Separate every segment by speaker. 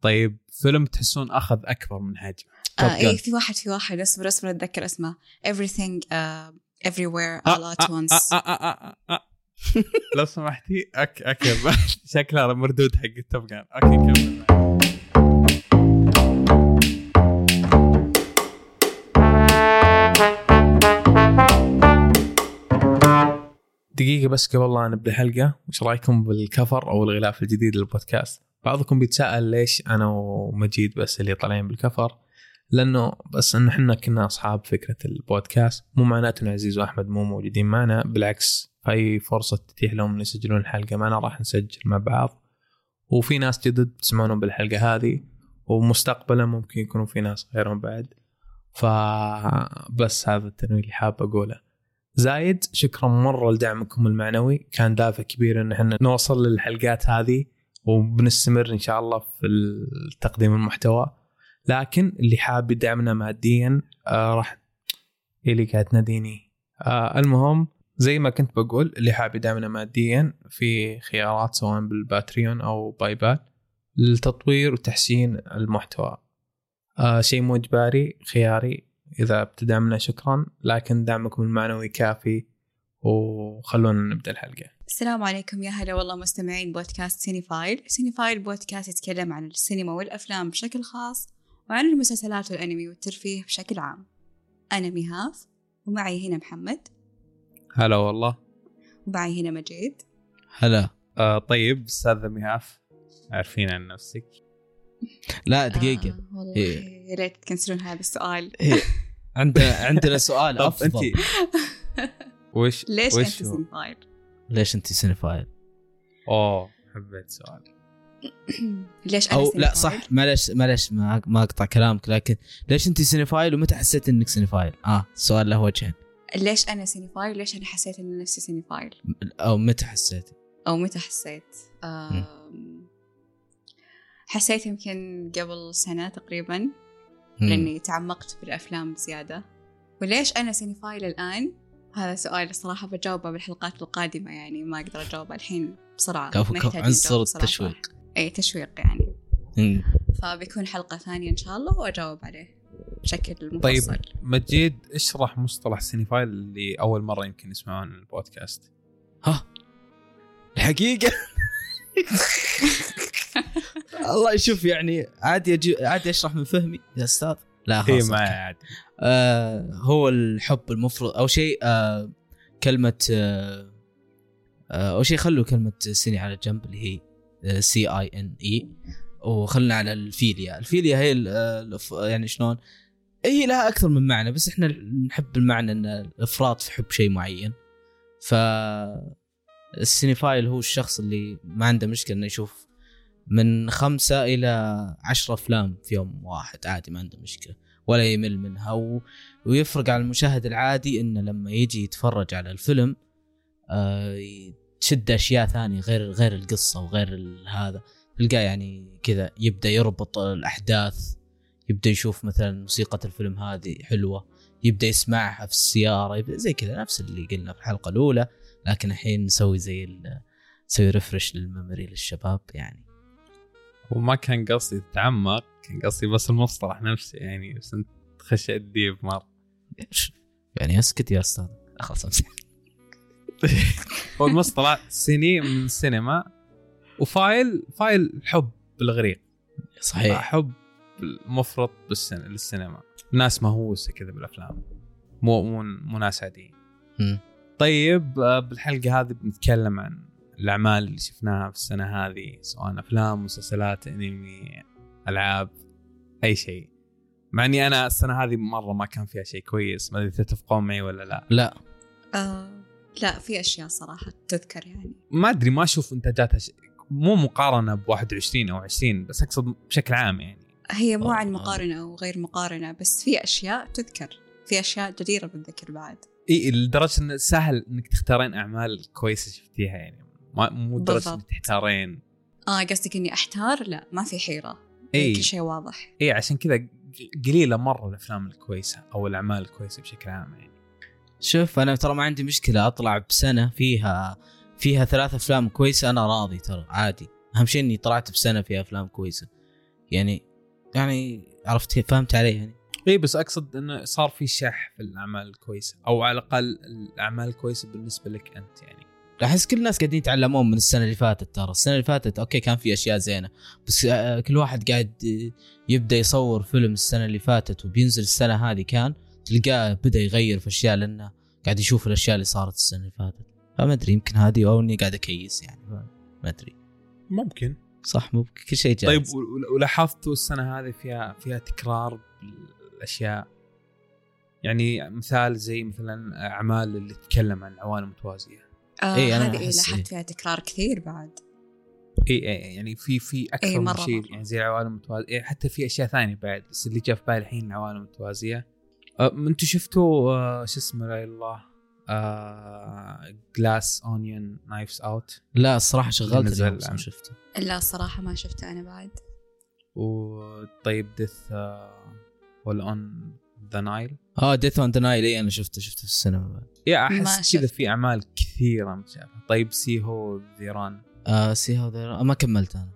Speaker 1: طيب فيلم تحسون اخذ اكبر من حجمه Top
Speaker 2: آه إيه
Speaker 1: Gun.
Speaker 2: في واحد في واحد اصبر اصبر اتذكر اسمه everything uh, everywhere
Speaker 1: آه،
Speaker 2: all at
Speaker 1: آه، آه،
Speaker 2: once
Speaker 1: آه، آه، آه، آه. لو سمحتي أك أكب شكلها مردود حق التوب جان اوكي كمل دقيقة بس قبل لا نبدا الحلقة، وش رايكم بالكفر او الغلاف الجديد للبودكاست؟ بعضكم بيتساءل ليش انا ومجيد بس اللي طالعين بالكفر؟ لانه بس انه احنا كنا اصحاب فكره البودكاست مو معناته ان عزيز واحمد مو موجودين معنا بالعكس في فرصه تتيح لهم ان يسجلون الحلقه معنا راح نسجل مع بعض وفي ناس جدد بتسمعونهم بالحلقه هذه ومستقبلا ممكن يكونوا في ناس غيرهم بعد فبس هذا التنويه اللي حاب اقوله زايد شكرا مره لدعمكم المعنوي كان دافع كبير ان احنا نوصل للحلقات هذه وبنستمر ان شاء الله في تقديم المحتوى لكن اللي حاب يدعمنا ماديا آه راح إيه اللي قاعد تناديني آه المهم زي ما كنت بقول اللي حاب يدعمنا ماديا في خيارات سواء بالباتريون او باي بال للتطوير وتحسين المحتوى آه شيء مو اجباري خياري اذا بتدعمنا شكرا لكن دعمكم المعنوي كافي وخلونا نبدا الحلقه
Speaker 2: السلام عليكم يا هلا والله مستمعين بودكاست سينيفايل سينيفايل بودكاست يتكلم عن السينما والأفلام بشكل خاص وعن المسلسلات والأنمي والترفيه بشكل عام أنا ميهاف ومعي هنا محمد
Speaker 1: هلا والله
Speaker 2: ومعي هنا مجيد
Speaker 3: هلا
Speaker 1: آه طيب استاذ ميهاف عارفين عن نفسك
Speaker 3: لا دقيقة
Speaker 2: آه والله
Speaker 3: إيه.
Speaker 2: يا ريت تكنسلون هذا السؤال
Speaker 3: إيه. عندنا عندنا سؤال
Speaker 1: طب
Speaker 3: افضل
Speaker 1: انت وش
Speaker 2: ليش أنت
Speaker 1: وش هو؟
Speaker 2: سينيفايل؟
Speaker 3: ليش انت سينفايل؟
Speaker 1: اوه حبيت سؤال
Speaker 2: ليش أنا
Speaker 3: او لا
Speaker 2: cinephile؟
Speaker 3: صح معلش معلش ما, ما اقطع كلامك لكن ليش انت سينفايل ومتى حسيت انك سينفايل؟ اه سؤال له وجهين
Speaker 2: ليش أنا سينيفايل؟ ليش أنا حسيت إن نفسي سينيفايل؟
Speaker 3: او متى حسيت؟
Speaker 2: أو متى حسيت؟ آم، حسيت يمكن قبل سنة تقريباً
Speaker 3: مم.
Speaker 2: لاني تعمقت بالافلام بزياده وليش انا سينيفايل الان هذا سؤال الصراحه بجاوبه بالحلقات القادمه يعني ما اقدر اجاوبه الحين بسرعه
Speaker 3: كفو
Speaker 2: ما
Speaker 3: كفو
Speaker 2: يحتاج
Speaker 3: عنصر
Speaker 2: نجاوب بصراحة.
Speaker 3: التشويق
Speaker 2: اي تشويق يعني
Speaker 3: مم.
Speaker 2: فبيكون حلقه ثانيه ان شاء الله واجاوب عليه بشكل
Speaker 1: طيب.
Speaker 2: مفصل طيب.
Speaker 1: مجيد اشرح مصطلح سينيفايل اللي اول مره يمكن يسمعون البودكاست
Speaker 3: ها الحقيقة الله يشوف يعني عادي أجي عادي اشرح من فهمي يا استاذ لا
Speaker 1: اي
Speaker 3: خلاص
Speaker 1: إيه، ما
Speaker 3: أوكي.
Speaker 1: عاد
Speaker 3: آه هو الحب المفرط او شيء آه كلمه آه آه او شيء خلوا كلمه سيني على جنب اللي هي آه، سي اي ان اي E. وخلنا على الفيليا الفيليا هي ال- آه، الف- يعني شلون هي لها اكثر من معنى بس احنا نحب المعنى ان الافراط في حب شيء معين ف السينيفايل هو الشخص اللي ما عنده مشكله انه يشوف من خمسة إلى عشرة أفلام في يوم واحد عادي ما عنده مشكلة ولا يمل منها و... ويفرق عن المشاهد العادي انه لما يجي يتفرج على الفيلم آه، ي- تشد اشياء ثانيه غير غير القصه وغير ال- هذا تلقاه يعني كذا يبدا يربط الاحداث يبدا يشوف مثلا موسيقى الفيلم هذه حلوه يبدا يسمعها في السياره يبدا زي كذا نفس اللي قلنا في الحلقه الاولى لكن الحين نسوي زي ال- نسوي ريفرش للميموري للشباب يعني
Speaker 1: وما كان قصدي تتعمق كان قصدي بس المصطلح نفسه يعني بس انت خشيت ديب مره
Speaker 3: يعني اسكت يا استاذ خلاص امسح
Speaker 1: هو المصطلح سيني من سينما وفايل فايل حب بالغريق
Speaker 3: صحيح
Speaker 1: حب مفرط بالسن... للسينما ناس مهووسه كذا بالافلام مو مو مو ناس عاديين
Speaker 3: مم.
Speaker 1: طيب آه، بالحلقه هذه بنتكلم عن الاعمال اللي شفناها في السنه هذه سواء افلام مسلسلات انمي العاب اي شيء مع اني انا السنه هذه مره ما كان فيها شيء كويس ما ادري تتفقون معي ولا لا
Speaker 3: لا
Speaker 2: آه لا في اشياء صراحه تذكر يعني
Speaker 1: ما ادري ما اشوف انتاجاتها ش... مو مقارنه ب 21 او 20 بس اقصد بشكل عام يعني
Speaker 2: هي مو
Speaker 3: آه،
Speaker 2: عن
Speaker 3: آه.
Speaker 2: مقارنه او غير مقارنه بس في اشياء تذكر في اشياء جديره بالذكر بعد
Speaker 1: اي لدرجه انه سهل انك تختارين اعمال كويسه شفتيها يعني ما مو لدرجه
Speaker 2: بالضبط.
Speaker 1: انك تحتارين
Speaker 2: اه قصدك اني احتار لا ما في حيره
Speaker 1: اي
Speaker 2: كل شيء واضح
Speaker 1: اي عشان كذا قليله مره الافلام الكويسه او الاعمال الكويسه بشكل عام يعني
Speaker 3: شوف انا ترى ما عندي مشكله اطلع بسنه فيها فيها ثلاث افلام كويسه انا راضي ترى عادي اهم شيء اني طلعت بسنه فيها افلام كويسه يعني يعني عرفت كيف؟ فهمت علي يعني
Speaker 1: اي بس اقصد انه صار في شح في الاعمال الكويسه او على الاقل الاعمال الكويسه بالنسبه لك انت يعني
Speaker 3: احس كل الناس قاعدين يتعلمون من السنه اللي فاتت ترى السنه اللي فاتت اوكي كان في اشياء زينه بس آه، كل واحد قاعد آه، يبدا يصور فيلم السنه اللي فاتت وبينزل السنه هذه كان تلقاه بدا يغير في اشياء لانه قاعد يشوف الاشياء اللي صارت السنه اللي فاتت فما ادري يمكن هذه او اني قاعد اكيس يعني ما ادري
Speaker 1: ممكن
Speaker 3: صح مو كل شيء جاهز
Speaker 1: طيب و- ولاحظتوا السنه هذه فيها فيها تكرار بالاشياء يعني مثال زي مثلا اعمال اللي تتكلم عن العوالم المتوازيه
Speaker 2: آه
Speaker 3: إيه، أنا
Speaker 2: هذه إيه
Speaker 3: أحس إيه.
Speaker 2: لاحظت فيها تكرار كثير بعد
Speaker 1: اي اي يعني في في اكثر
Speaker 2: إي،
Speaker 1: من
Speaker 2: مرة
Speaker 1: شيء
Speaker 2: مرة.
Speaker 1: يعني زي العوالم المتوازيه إيه حتى في اشياء ثانيه بعد بس اللي جاء في بالي الحين العوالم المتوازيه أه، انتم شفتوا أه، شو اسمه لا إله إلا الله جلاس اونيون نايفز اوت
Speaker 3: لا الصراحه شغلت
Speaker 1: نزل
Speaker 3: اليوم
Speaker 1: الآن.
Speaker 3: شفته
Speaker 2: لا الصراحة ما شفته أنا بعد
Speaker 1: وطيب ديث ولا اون ذا نايل
Speaker 3: اه ديث اون دنايل اي انا شفته شفته في السينما بعد.
Speaker 1: يا
Speaker 2: ما
Speaker 1: احس
Speaker 2: شفت.
Speaker 1: كذا في اعمال كثيره مشابهه طيب سيهو ذيران
Speaker 3: آه سي هاو ذير- آه، ما كملت انا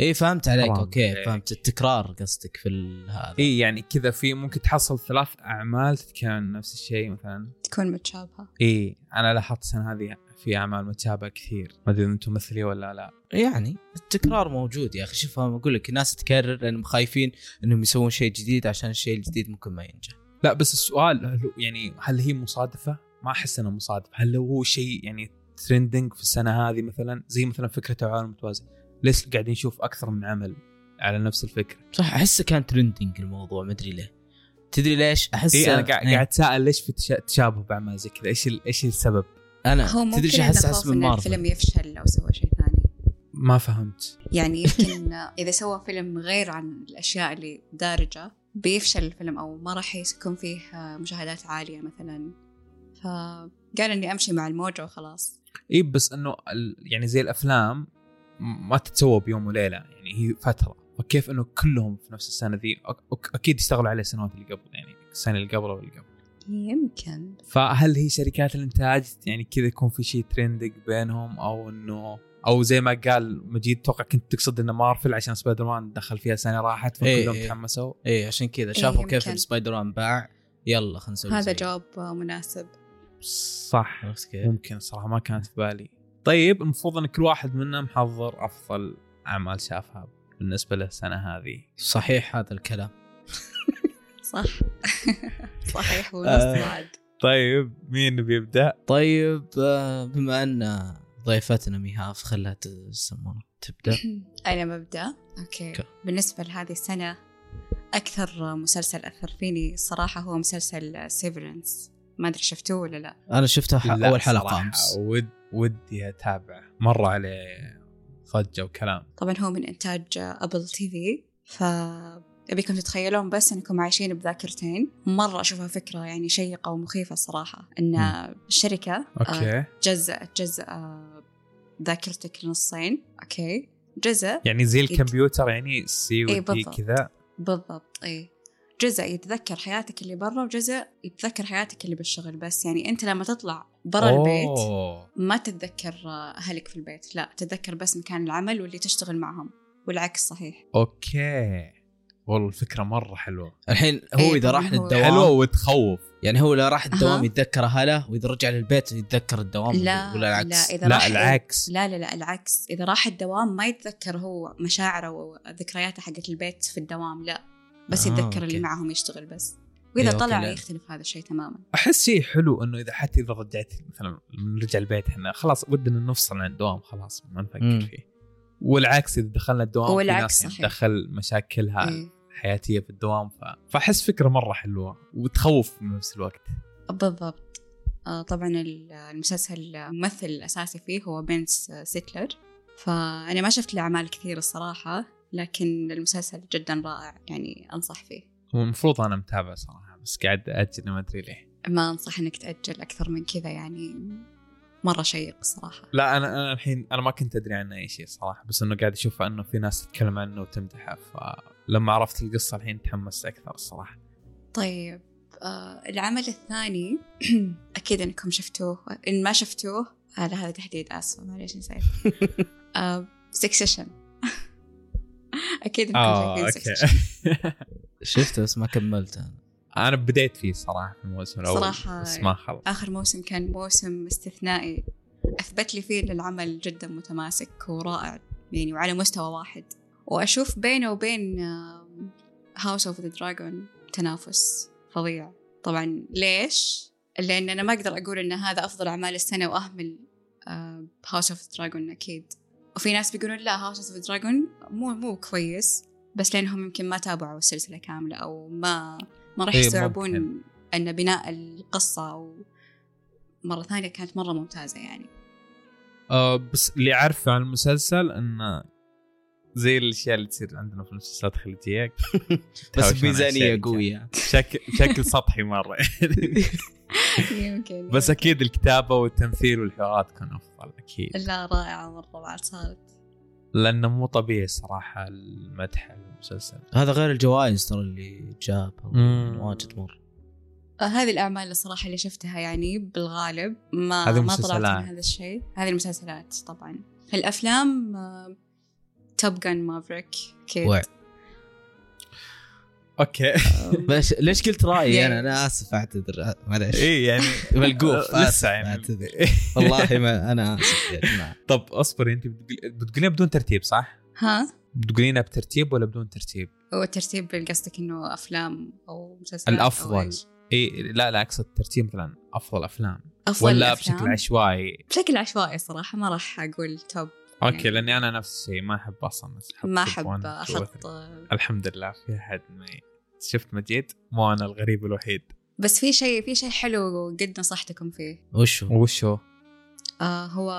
Speaker 3: اي فهمت عليك
Speaker 1: حرام
Speaker 3: اوكي
Speaker 1: عليك.
Speaker 3: فهمت التكرار قصدك في ال- هذا
Speaker 1: اي يعني كذا في ممكن تحصل ثلاث اعمال تتكلم عن نفس الشيء مثلا
Speaker 2: تكون متشابهة
Speaker 1: اي انا لاحظت السنه هذه في اعمال متشابهه كثير ما ادري إذا انتم مثلي ولا لا
Speaker 3: يعني التكرار موجود يا اخي شوف أنا اقول لك الناس تكرر لانهم خايفين انهم يسوون شيء جديد عشان الشيء الجديد ممكن ما ينجح
Speaker 1: لا بس السؤال هل هو- يعني هل هي مصادفه ما احس انها مصادفه هل هو شيء يعني ترندنج في السنه هذه مثلا زي مثلا فكره العالم المتوازي ليش قاعدين نشوف اكثر من عمل على نفس الفكره
Speaker 3: صح احسه كان ترندنج الموضوع ما ادري ليه تدري ليش إيه، احس
Speaker 1: اي انا إيه، قاعد قاعد اتساءل ليش في تشا- تشابه باعمال زي كذا ايش ال- ايش السبب
Speaker 3: انا
Speaker 2: هو ممكن
Speaker 3: آه، تدري ايش
Speaker 2: إنه
Speaker 3: احس
Speaker 2: خوف
Speaker 3: احس من
Speaker 2: إن
Speaker 3: مارفل
Speaker 2: الفيلم يفشل لو سوى شيء ثاني
Speaker 1: ما فهمت
Speaker 2: يعني يمكن إذا سوى فيلم غير عن الأشياء اللي دارجة بيفشل الفيلم أو ما راح يكون فيه مشاهدات عالية مثلا فقال إني أمشي مع الموجة وخلاص
Speaker 1: اي إيه، بس انه ال- يعني زي الافلام م- ما تتسوى بيوم وليله يعني هي فتره فكيف انه كلهم في نفس السنه ذي أك- أك- اكيد اشتغلوا عليه السنوات اللي قبل يعني السنه اللي قبل واللي قبل
Speaker 2: يمكن
Speaker 1: فهل هي شركات الانتاج يعني كذا يكون في شيء ترندق بينهم او انه او زي ما قال مجيد توقع كنت تقصد انه مارفل عشان سبايدر مان دخل فيها سنه راحت
Speaker 3: إيه،
Speaker 1: فكلهم
Speaker 3: إيه.
Speaker 1: تحمسوا
Speaker 3: اي عشان كذا شافوا كيف
Speaker 2: إيه، يمكن.
Speaker 3: سبايدر مان باع يلا خلينا نسوي
Speaker 2: هذا
Speaker 3: زيه.
Speaker 2: جواب مناسب
Speaker 1: صح
Speaker 3: عرفت كيف؟
Speaker 1: ممكن صراحه ما كانت في بالي طيب المفروض ان كل واحد منا محضر افضل اعمال شافها بالنسبه للسنه هذه
Speaker 3: صحيح هذا الكلام
Speaker 2: صح صحيح ونص بعد
Speaker 1: طيب مين بيبدا؟
Speaker 3: طيب آه، بما ان ضيفتنا ميهاف خلها ت- يسمونه تبدا
Speaker 2: أنا مبدأ أوكي
Speaker 3: أوكي.
Speaker 2: بالنسبة لهذه السنة أكثر مسلسل أثر فيني الصراحة هو مسلسل سيفرنس ما أدري شفتوه ولا لا
Speaker 3: انا شفتها ح-
Speaker 1: لا،
Speaker 3: اول حلقه
Speaker 1: صراحة
Speaker 3: امس
Speaker 1: ود ودي اتابعه مره عليه ضجه وكلام
Speaker 2: طبعا هو من إنتاج أبل تي في ف أبيكم تتخيلون بس أنكم عايشين بذاكرتين مرة أشوفها فكرة يعني شيقة ومخيفة الصراحة أن الشركة آه،
Speaker 1: اوكي
Speaker 2: جزأت جزء آه، ذاكرتك لنصين أوكي جزء
Speaker 1: يعني زي الكمبيوتر يعني سي
Speaker 2: إيه،
Speaker 1: ودي
Speaker 2: بالضبط.
Speaker 1: كذا
Speaker 2: بالضبط اي جزء يتذكر حياتك اللي برا وجزء يتذكر حياتك اللي بالشغل بس يعني انت لما تطلع برا البيت
Speaker 1: أوه.
Speaker 2: ما تتذكر آه، اهلك في البيت لا تتذكر بس مكان العمل واللي تشتغل معهم والعكس صحيح
Speaker 1: اوكي والله الفكره مره حلوه
Speaker 3: الحين هو
Speaker 2: إيه،
Speaker 3: اذا راح
Speaker 2: طبعاً هو-
Speaker 3: للدوام
Speaker 1: حلوه وتخوف
Speaker 3: يعني هو لو راح الدوام
Speaker 2: أها.
Speaker 3: يتذكر اهله واذا رجع للبيت يتذكر الدوام
Speaker 2: لا
Speaker 3: ولا العكس
Speaker 2: لا اذا
Speaker 1: لا
Speaker 2: راح
Speaker 1: العكس
Speaker 2: لا لا لا العكس اذا راح الدوام ما يتذكر هو مشاعره وذكرياته حقت البيت في الدوام لا بس
Speaker 3: آه،
Speaker 2: يتذكر اللي
Speaker 3: أوكي.
Speaker 2: معهم يشتغل بس
Speaker 3: إيه،
Speaker 2: واذا
Speaker 3: أوكي،
Speaker 2: طلع
Speaker 3: لا.
Speaker 2: يختلف هذا الشيء تماما
Speaker 1: احس شيء حلو انه اذا حتى اذا رجعت مثلا نرجع البيت احنا خلاص ودنا نفصل عن الدوام خلاص ما
Speaker 3: مم.
Speaker 1: نفكر فيه والعكس اذا دخلنا الدوام في
Speaker 2: والعكس
Speaker 1: ناس يعني
Speaker 2: صحيح.
Speaker 1: دخل
Speaker 3: آه.
Speaker 1: مشاكلها
Speaker 2: إيه.
Speaker 1: الحياتيه في الدوام ف... فاحس فكره مره حلوه وتخوف في نفس الوقت
Speaker 2: بالضبط آه، طبعا ال- المسلسل الممثل الأساسي فيه هو بنس سيتلر فأنا ما شفت له أعمال كثير الصراحة لكن المسلسل جدا رائع يعني أنصح فيه
Speaker 1: هو المفروض انا متابع صراحه بس قاعد اجل ما ادري ليه
Speaker 2: ما أنصح أنك تأجل أكثر من كذا يعني مرة شيق الصراحة
Speaker 1: لا انا انا الحين انا ما كنت ادري عنه اي شيء صراحه بس انه قاعد اشوف انه في ناس تتكلم عنه وتمدحه فلما عرفت القصه الحين تحمست اكثر الصراحه
Speaker 2: طيب آه العمل الثاني أكيد أنكم شفتوه إن ما شفتوه آه لا هذا تحديد آسفة معليش نسيت آه سكسيشن اكيد بكون
Speaker 1: اه
Speaker 2: شايفين
Speaker 1: اوكي
Speaker 2: سكشن.
Speaker 3: شفته بس ما كملته انا
Speaker 1: انا بديت فيه صراحه في الموسم الاول
Speaker 2: صراحة
Speaker 1: بس ما خلص
Speaker 2: اخر موسم كان موسم استثنائي اثبت لي فيه ان العمل جدا متماسك ورائع يعني وعلى مستوى واحد واشوف بينه وبين هاوس اوف ذا دراجون تنافس فظيع طبعا ليش؟ لان انا ما اقدر اقول ان هذا افضل اعمال السنه واهمل هاوس اوف دراجون اكيد وفي ناس بيقولون لا هاوس اوف دراجون مو مو كويس بس لانهم يمكن ما تابعوا السلسله كامله او ما ما راح
Speaker 1: إيه،
Speaker 2: يستوعبون
Speaker 1: ممكن.
Speaker 2: ان بناء القصه او مره ثانيه كانت مره ممتازه يعني
Speaker 1: آه بس اللي اعرفه عن المسلسل انه زي الاشياء اللي تصير عندنا في المسلسلات الخليجيه
Speaker 3: بس
Speaker 1: تهاوشون على
Speaker 3: بميزانيه
Speaker 1: الشركة.
Speaker 3: قويه
Speaker 1: شكل شكل سطحي مره
Speaker 2: يمكن
Speaker 1: بس اكيد الكتابه والتمثيل والحوارات كان افضل اكيد
Speaker 2: لا رائعه مره بعد صارت
Speaker 1: لانه مو طبيعي صراحه المدح على المسلسل
Speaker 3: هذا غير الجوائز ترى اللي جابها
Speaker 1: مم.
Speaker 3: واجد مره
Speaker 2: آه، هذه الأعمال الصراحة اللي شفتها يعني بالغالب ما
Speaker 1: هذه
Speaker 2: ما طلعت
Speaker 1: مسلسلات.
Speaker 2: من هذا الشيء هذه المسلسلات طبعا الأفلام آه، توب جان مافريك
Speaker 3: وع.
Speaker 2: كيد
Speaker 1: اوكي
Speaker 2: آه،
Speaker 3: بس ليش قلت رايي انا
Speaker 2: يعني-
Speaker 3: انا اسف اعتذر معليش
Speaker 1: اي يعني
Speaker 3: ملقوف
Speaker 1: لسه
Speaker 3: اسف
Speaker 1: يعني
Speaker 3: اعتذر والله ما انا اسف يا جماعه
Speaker 1: طب اصبري انت بتقول- بتقولين بدون ترتيب صح؟
Speaker 2: ها
Speaker 1: بتقولينها بترتيب ولا بدون ترتيب؟
Speaker 2: والترتيب قصدك إنه أفلام أو مسلسلات أو
Speaker 1: الافضل
Speaker 2: إيش؟
Speaker 1: اي لا لا اقصد الترتيب مثلا افضل افلام
Speaker 2: أفضل
Speaker 1: ولا
Speaker 2: الأفلام؟ يعني.
Speaker 1: بشكل عشوائي
Speaker 2: بشكل عشوائي صراحة ما راح أقول توب
Speaker 1: اوكي لاني انا نفس الشيء ما احب اصلا أحط
Speaker 2: ما
Speaker 1: توب
Speaker 2: أحب
Speaker 1: 1 2
Speaker 2: أحط
Speaker 1: 3. الحمد لله في احد ما ي- شفت مجيد مو انا الغريب الوحيد
Speaker 2: بس في شيء في شيء حلو قد نصحتكم فيه
Speaker 3: وش هو؟
Speaker 1: وش هو؟
Speaker 2: آه هو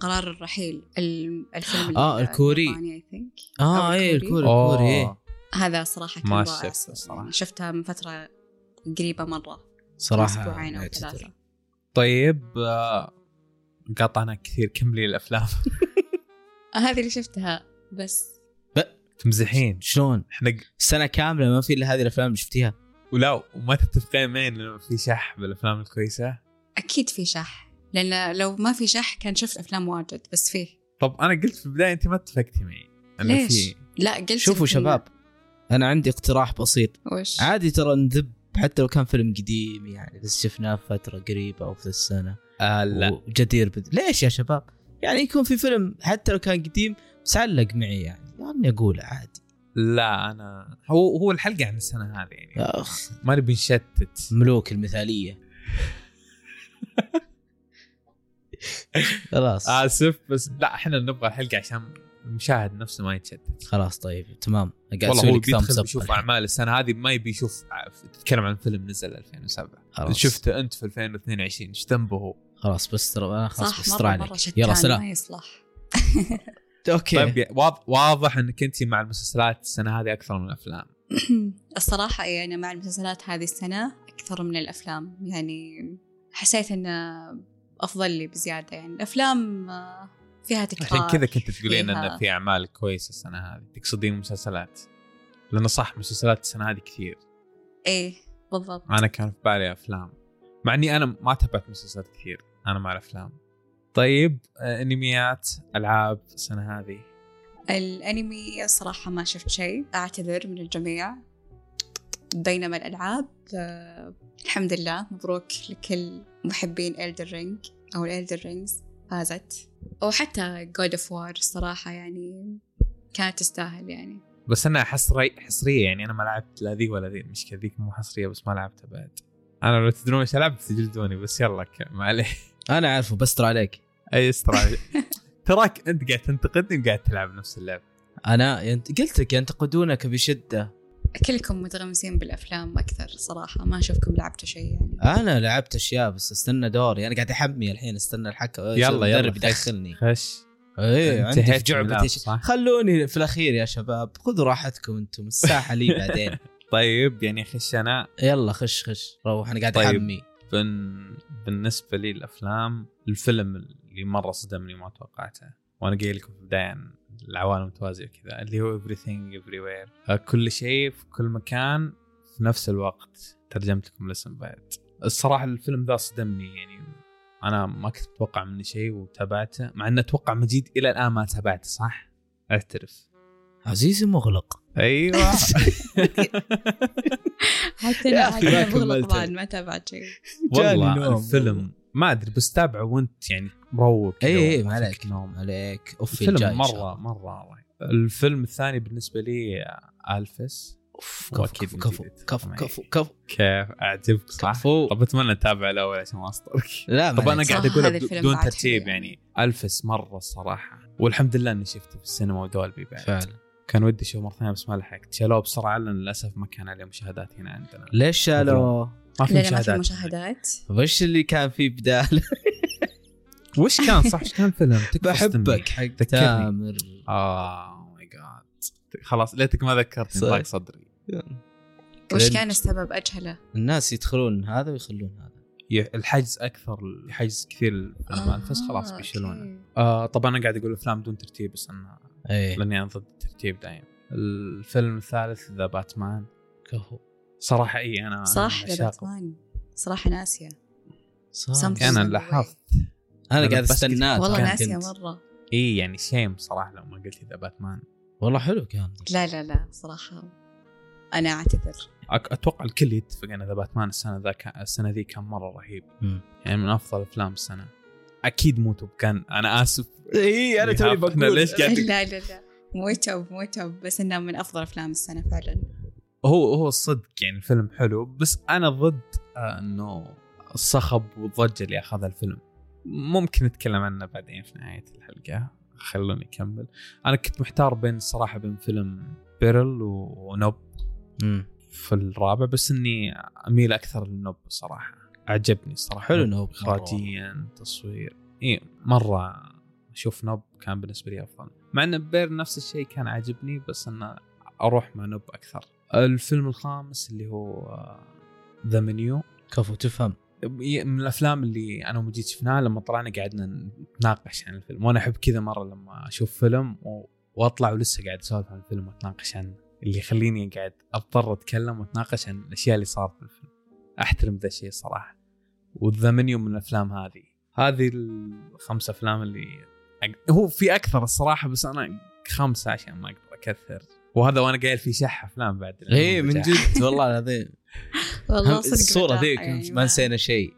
Speaker 2: قرار الرحيل ال- الفيلم
Speaker 3: آه، الكوري.
Speaker 2: الياباني، I think.
Speaker 3: اه
Speaker 2: أو
Speaker 3: اي
Speaker 2: الكوري.
Speaker 3: الكوري الكوري إيه.
Speaker 1: أوه.
Speaker 2: هذا صراحة كان
Speaker 1: ما
Speaker 2: رائع
Speaker 1: شفته
Speaker 2: يعني
Speaker 1: صراحة.
Speaker 2: شفتها من فترة قريبة مرة
Speaker 3: صراحه
Speaker 2: أسبوعين أو
Speaker 3: أعتذر.
Speaker 2: ثلاثة
Speaker 1: طيب آه، قطعنا كثير كملي الافلام
Speaker 2: آه، هذه اللي شفتها بس
Speaker 1: تمزحين
Speaker 3: شلون؟
Speaker 1: احنا ق-
Speaker 3: سنه كامله ما في الا هذه الافلام اللي شفتيها
Speaker 1: ولا وما تتفقين معي انه في شح بالافلام الكويسه
Speaker 2: أكيد في شح لأن لو ما في شح كان شفت أفلام واجد بس فيه
Speaker 1: طب انا قلت في البدايه انت ما اتفقتي معي إنه
Speaker 2: ليش؟
Speaker 1: في-
Speaker 2: لا قلت
Speaker 3: شوفوا
Speaker 2: إن-
Speaker 3: شباب انا عندي اقتراح بسيط
Speaker 2: وش
Speaker 3: عادي ترى نذب حتى لو كان فيلم قديم يعني بس شفناه في فتره قريبه او في السنه
Speaker 1: آه لا
Speaker 3: وجدير بد... ليش يا شباب؟ يعني يكون في فيلم حتى لو كان قديم بس علق معي يعني يعني اقوله عادي
Speaker 1: لا انا هو هو الحلقه عن السنه هذه يعني
Speaker 3: يا اخ
Speaker 1: ما نبي نشتت
Speaker 3: ملوك المثاليه خلاص
Speaker 1: اسف آه، بس لا احنا نبغى الحلقه عشان المشاهد نفسه ما يتشتت
Speaker 3: خلاص طيب تمام قاعد
Speaker 1: والله
Speaker 3: أسوي
Speaker 1: هو
Speaker 3: لك thumbs
Speaker 1: بيدخل
Speaker 3: up
Speaker 1: بيشوف
Speaker 3: الحين.
Speaker 1: اعمال السنه هذه ما يبي يشوف تتكلم عن فيلم نزل 2007
Speaker 3: خلاص.
Speaker 1: شفته انت في 2022 ايش ذنبه هو؟
Speaker 3: خلاص بس ترى انا خلاص
Speaker 2: صح
Speaker 3: بس ترى
Speaker 2: مرة مرة
Speaker 3: عليك
Speaker 2: شتان
Speaker 3: يلا
Speaker 2: ما
Speaker 3: سلام
Speaker 2: يصلح
Speaker 3: اوكي
Speaker 1: طيب يا- واض- واضح انك انت مع المسلسلات السنه هذه اكثر من الافلام
Speaker 2: الصراحة إيه أنا مع المسلسلات هذه السنة أكثر من الأفلام يعني حسيت إن أفضل لي بزيادة يعني الأفلام آه، فيها تكرار
Speaker 1: عشان كذا كنت تقولين
Speaker 2: فيها-
Speaker 1: ان في اعمال كويسه السنه هذه تقصدين مسلسلات لانه صح مسلسلات السنه هذه كثير
Speaker 2: إيه بالضبط
Speaker 1: انا كان في بالي افلام مع اني انا ما تابعت مسلسلات كثير انا مع الافلام طيب آه، انميات العاب السنه هذه
Speaker 2: الأنمي الصراحة ما شفت شيء أعتذر من الجميع بينما الألعاب آه، الحمد لله مبروك لكل محبين إلدر رينج أو الإلدر رينجز فازت وحتى جود اوف وار الصراحة يعني كانت تستاهل يعني
Speaker 1: بس انا حصري حصريه يعني انا ما لعبت لا ذي ولا ذي المشكله ذيك مو حصريه بس ما لعبتها بعد انا لو تدرون ايش العب تجلدوني بس يلا ك- ما عليه
Speaker 3: انا عارفه بس ترى عليك
Speaker 1: اي استراتيجي تراك انت قاعد تنتقدني وقاعد تلعب نفس اللعب
Speaker 3: انا ينت... قلت لك ينتقدونك بشده
Speaker 2: كلكم متغمسين بالافلام اكثر صراحه ما اشوفكم لعبتوا شيء يعني
Speaker 3: انا لعبت اشياء بس استنى دوري انا قاعد احمي الحين استنى الحكم
Speaker 1: يلا، يلا.
Speaker 3: المدرب يدخلني
Speaker 1: خش
Speaker 3: اي عندي في
Speaker 1: انتهيت من
Speaker 3: جعبه
Speaker 1: اللعب،
Speaker 3: إيش-
Speaker 1: صح؟
Speaker 3: خلوني في الاخير يا شباب خذوا راحتكم انتم الساحه لي بعدين
Speaker 1: طيب يعني خش انا
Speaker 3: يلا خش خش روح انا قاعد
Speaker 1: طيب.
Speaker 3: احمي
Speaker 1: بن... بالنسبه لي الافلام الفيلم اللي مره صدمني ما توقعته وانا قايل لكم في البدايه عن العوالم متوازيه كذا اللي هو everything everywhere آه، كل شيء في كل مكان في نفس الوقت ترجمت لكم الاسم بعد الصراحه الفيلم ذا صدمني يعني انا ما كنت متوقع منه شيء وتابعته مع انه اتوقع مجيد الى الان ما تابعته صح؟ اعترف
Speaker 3: عزيزي مغلق
Speaker 1: ايوه
Speaker 2: حتى انا
Speaker 3: يا أخي،
Speaker 1: ما
Speaker 2: عاد مغلق
Speaker 1: كملت.
Speaker 2: بعد ما تابعت شيء
Speaker 3: جاني نوم.
Speaker 1: والله الفيلم ما ادري بس تابعه وانت يعني مروق كذا
Speaker 3: اي اي
Speaker 1: وما
Speaker 3: ما عليك
Speaker 1: فيك نوم
Speaker 3: عليك اوف إيه، الجاي
Speaker 1: الفيلم
Speaker 3: إن شاء الله.
Speaker 1: مره مره رهيب. الفيلم الثاني بالنسبه لي آه، الفس
Speaker 3: اوف
Speaker 1: هو
Speaker 3: كفو
Speaker 1: أكيد
Speaker 3: كفو كفو
Speaker 1: جديد.
Speaker 3: كفو
Speaker 1: طبعاً.
Speaker 3: كفو كفو
Speaker 1: كيف اعجبك صح؟
Speaker 3: كفو
Speaker 1: طب اتمنى اتابع الاول عشان ما اصدرك
Speaker 3: لا ما
Speaker 1: طب انا
Speaker 3: عليك.
Speaker 1: قاعد
Speaker 2: صح،
Speaker 1: اقولها
Speaker 2: هذا الفيلم
Speaker 1: بدون
Speaker 2: بعد
Speaker 1: ترتيب
Speaker 2: حلو يعني.
Speaker 1: يعني الفس مره الصراحه والحمد لله اني شفته في السينما ودولبي بعد
Speaker 3: فعلا
Speaker 1: كان ودي اشوفه مره ثانيه بس ما لحقت شالوه بسرعه لان للاسف ما كان عليه مشاهدات هنا عندنا
Speaker 3: ليش شالوا؟
Speaker 1: ما
Speaker 2: لا لا ما في مشاهدات
Speaker 3: وش اللي كان فيه بداله؟
Speaker 1: وش كان صح ايش كان فيلم تكفى
Speaker 3: بحبك
Speaker 1: صدمني.
Speaker 3: حق
Speaker 1: ذكرني.
Speaker 3: تامر
Speaker 1: اه ماي جاد خلاص ليتك ما ذكرتني
Speaker 3: صح.
Speaker 1: ضاق صدري
Speaker 2: وش
Speaker 3: كرنج.
Speaker 2: كان السبب اجهله؟
Speaker 3: الناس يدخلون هذا ويخلون هذا
Speaker 1: ي- الحجز اكثر حجز كثير
Speaker 2: آه،
Speaker 1: الافلام بس خلاص
Speaker 2: أوكي.
Speaker 1: بيشيلونه آه طبعا انا قاعد اقول افلام بدون ترتيب بس انا
Speaker 2: إيه.
Speaker 3: ايه
Speaker 1: لاني انا ضد الترتيب دايم الفيلم الثالث ذا باتمان
Speaker 3: كفو
Speaker 1: صراحه اي انا
Speaker 2: صح
Speaker 1: أنا
Speaker 2: يا
Speaker 1: عشاق-
Speaker 2: باتمان طيب. صراحة ناسية
Speaker 3: صح.
Speaker 2: Something.
Speaker 1: انا
Speaker 2: Something.
Speaker 1: لاحظت
Speaker 3: انا
Speaker 1: أنا
Speaker 3: قاعد
Speaker 1: بس
Speaker 3: استناك
Speaker 2: والله
Speaker 3: كان
Speaker 2: ناسية
Speaker 3: كنت.
Speaker 2: مرة
Speaker 1: اي يعني شيم صراحه لو ما قلت ذا باتمان
Speaker 3: والله حلو كان
Speaker 2: لا لا لا صراحة أنا أعتذر
Speaker 1: أك- اتوقع الكل يتفق ان ذا باتمان السنه ذا كان السنه ذي كان مره رهيب
Speaker 3: مم.
Speaker 1: يعني من افضل افلام السنه اكيد مو توب كان انا اسف
Speaker 3: اي
Speaker 1: انا توني بقول. ليش قاعد- يعني-
Speaker 2: لا لا لا مو توب مو توب بس إنه من أفضل أفلام السنة فعلا
Speaker 1: هو هو الصدق يعني الفيلم حلو بس انا ضد آه، انه الصخب والضجه اللي اخذها الفيلم ممكن نتكلم عنه بعدين في نهايه الحلقه خلوني اكمل انا كنت محتار بين الصراحه بين فيلم بيرل و- ونوب
Speaker 3: مم.
Speaker 1: في الرابع بس اني اميل اكثر للنوب صراحه اعجبني الصراحه
Speaker 3: حلو
Speaker 1: نوب
Speaker 3: نوب
Speaker 1: اخراجيا تصوير اي مره اشوف نوب كان بالنسبه لي افضل مع ان بير نفس الشيء كان عاجبني بس انه اروح مع نوب اكثر الفيلم الخامس اللي هو آه، ذا منيو
Speaker 3: كفو تفهم
Speaker 1: من الافلام اللي انا ومجيد شفناها لما طلعنا قعدنا نتناقش عن الفيلم وانا احب كذا مره لما اشوف فيلم و- واطلع ولسه قاعد اسولف عن الفيلم واتناقش عنه اللي يخليني قاعد اضطر اتكلم واتناقش عن الاشياء اللي صارت في الفيلم احترم ذا الشيء صراحه وذا منيو من الافلام هذه هذه الخمسة افلام اللي أق- هو في اكثر الصراحه بس انا خمسه عشان ما اقدر اكثر وهذا وانا قايل في شح افلام بعد
Speaker 3: اي إيه، من جد والله العظيم
Speaker 2: والله
Speaker 3: هم-
Speaker 2: صدق
Speaker 3: الصوره
Speaker 2: بالراحة
Speaker 3: ذيك
Speaker 2: يعني
Speaker 3: ما نسينا شيء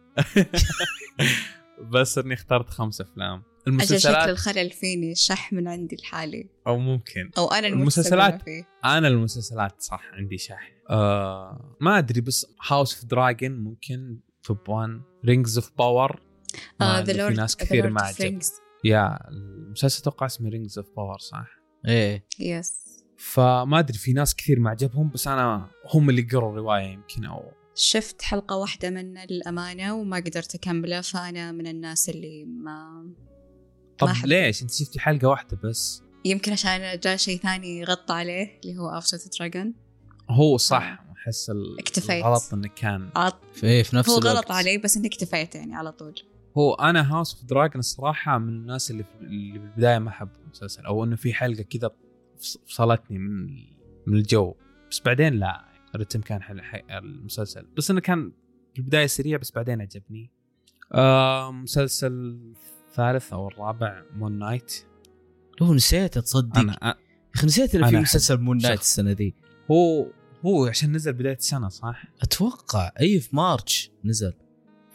Speaker 1: بس اني اخترت خمسة افلام
Speaker 2: أجل شكل
Speaker 1: المسلسلات
Speaker 2: الخلل فيني شح من عندي لحالي
Speaker 1: او ممكن
Speaker 2: أو أنا
Speaker 1: المسلسلات.
Speaker 2: المسلسلات فيه
Speaker 1: انا المسلسلات صح عندي شح آه ما ادري بس هاوس اوف دراجون ممكن توب 1 رينجز اوف
Speaker 2: آه،
Speaker 1: باور
Speaker 2: ذا
Speaker 1: آه، في
Speaker 2: لورد
Speaker 1: ناس كثير ما عجب يا المسلسل اتوقع اسمه رينجز اوف باور صح
Speaker 3: ايه
Speaker 2: يس
Speaker 1: فما ادري في ناس كثير ما عجبهم بس انا هم اللي قروا الروايه يمكن او
Speaker 2: شفت حلقة واحدة من الأمانة وما قدرت أكمله فأنا من الناس اللي ما
Speaker 1: طب
Speaker 2: ما أحب.
Speaker 1: ليش انت شفتي حلقه واحده بس
Speaker 2: يمكن عشان جاء شيء ثاني غطى عليه اللي هو أوف دراجون
Speaker 1: هو صح احس ال-
Speaker 2: آه. اكتفيت.
Speaker 1: الغلط انه كان
Speaker 2: عط
Speaker 3: في, إيه، في نفس
Speaker 2: هو
Speaker 3: الوقت
Speaker 2: غلط علي بس اني اكتفيت يعني على طول
Speaker 1: هو انا هاوس اوف دراجون الصراحه من الناس اللي في اللي بالبدايه ما حب المسلسل او انه في حلقه كذا فص- فصلتني من من الجو بس بعدين لا الرتم كان حل حي- المسلسل بس انه كان في البدايه سريع بس بعدين عجبني آه مسلسل الثالث او الرابع مون نايت
Speaker 3: هو نسيت تصدق
Speaker 1: انا
Speaker 3: يا
Speaker 1: أ-
Speaker 3: اخي نسيت انه في
Speaker 1: أنا
Speaker 3: مسلسل مون نايت
Speaker 1: شخص.
Speaker 3: السنه ذي
Speaker 1: هو هو عشان نزل بدايه السنه صح؟
Speaker 3: اتوقع اي في مارتش نزل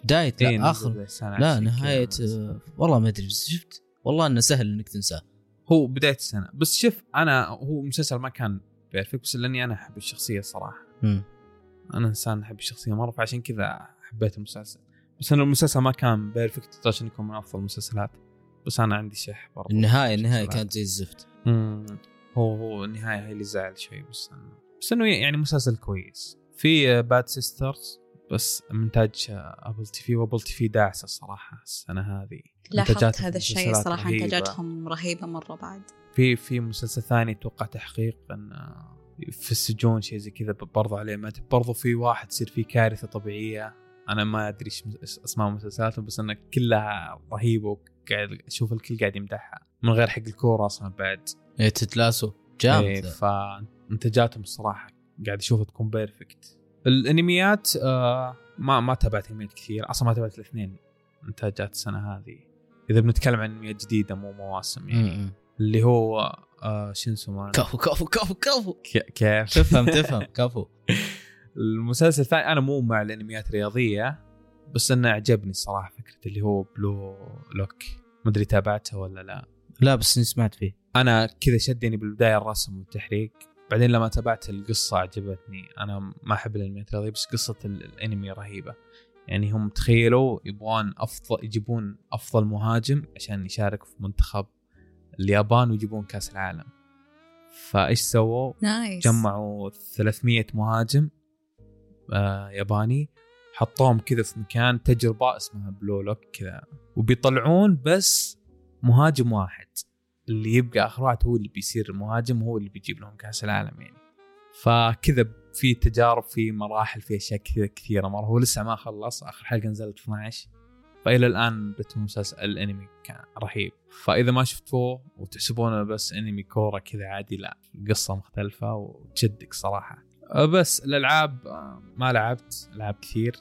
Speaker 3: بدايه
Speaker 1: إيه،
Speaker 3: لا
Speaker 1: نزل
Speaker 3: اخر
Speaker 1: بداية السنة
Speaker 3: لا
Speaker 1: عشان كذا
Speaker 3: نهايه
Speaker 1: نزل.
Speaker 3: آه، والله ما ادري بس شفت والله انه سهل انك تنساه
Speaker 1: هو بدايه السنه بس شوف انا هو مسلسل ما كان بيرفكت بس لاني انا احب الشخصيه الصراحه انا انسان احب الشخصيه مره فعشان كذا حبيت المسلسل بس انا المسلسل ما كان بيرفكت عشان يكون من افضل المسلسلات بس انا عندي شح برضه
Speaker 3: النهايه النهايه كانت زي الزفت
Speaker 1: مم. هو هو النهايه هي اللي زعل شوي بس أنا. بس انه يعني مسلسل كويس في باد سيسترز بس آه، انتاج ابل تي في وابل تي في داعسه الصراحه السنه هذه
Speaker 2: لاحظت
Speaker 1: إنتاجاتها
Speaker 2: هذا
Speaker 1: في
Speaker 2: الشيء
Speaker 1: المسلسلات
Speaker 2: صراحة
Speaker 1: رهيبة.
Speaker 2: انتاجاتهم رهيبة مرة بعد
Speaker 1: في في مسلسل ثاني اتوقع تحقيق ان آه، في السجون شيء زي كذا برضه عليه ما أدري. برضه في واحد تصير فيه كارثه طبيعيه انا ما ادري ايش مس- اسماء مسلسلاتهم بس انها كلها رهيبه وقاعد اشوف الكل قاعد يمدحها من غير حق الكوره اصلا بعد
Speaker 3: ايه تتلاسو
Speaker 1: إيه،
Speaker 3: جامد ذا.
Speaker 1: فانتاجاتهم الصراحه قاعد اشوفها تكون بيرفكت الانميات آه ما ما تابعت انميات كثير اصلا ما تابعت الاثنين انتاجات السنه هذه اذا بنتكلم عن انميات جديده مو مواسم يعني
Speaker 3: م- م.
Speaker 1: اللي هو آه شو اسمه
Speaker 3: كفو كفو كفو كفو
Speaker 1: ك- كيف
Speaker 3: تفهم تفهم كفو
Speaker 1: المسلسل الثاني انا مو مع الانميات الرياضيه بس انه عجبني الصراحه فكره اللي هو بلو لوك ما ادري تابعته ولا لا
Speaker 3: لا بس إني سمعت فيه
Speaker 1: انا كذا شدني بالبدايه الرسم والتحريك بعدين لما تابعت القصه عجبتني انا ما احب الانميات الرياضيه بس قصه ال- الانمي رهيبه يعني هم تخيلوا يبغون افضل يجيبون افضل مهاجم عشان يشارك في منتخب اليابان ويجيبون كاس العالم فايش سووا
Speaker 2: نايس
Speaker 1: جمعوا 300 مهاجم آه ياباني حطوهم كذا في مكان تجربه اسمها بلو لوك كذا وبيطلعون بس مهاجم واحد اللي يبقى اخر واحد هو اللي بيصير المهاجم هو اللي بيجيب لهم كاس العالم يعني فكذا في تجارب في مراحل في اشياء كذا كثيره مره هو لسه ما خلص اخر حلقه نزلت 12 فالى الان رتم مسلسل الانمي كان رهيب فاذا ما شفتوه وتحسبونه بس انمي كوره كذا عادي لا قصه مختلفه وتشدك صراحه أه بس الالعاب أه، ما لعبت العاب كثير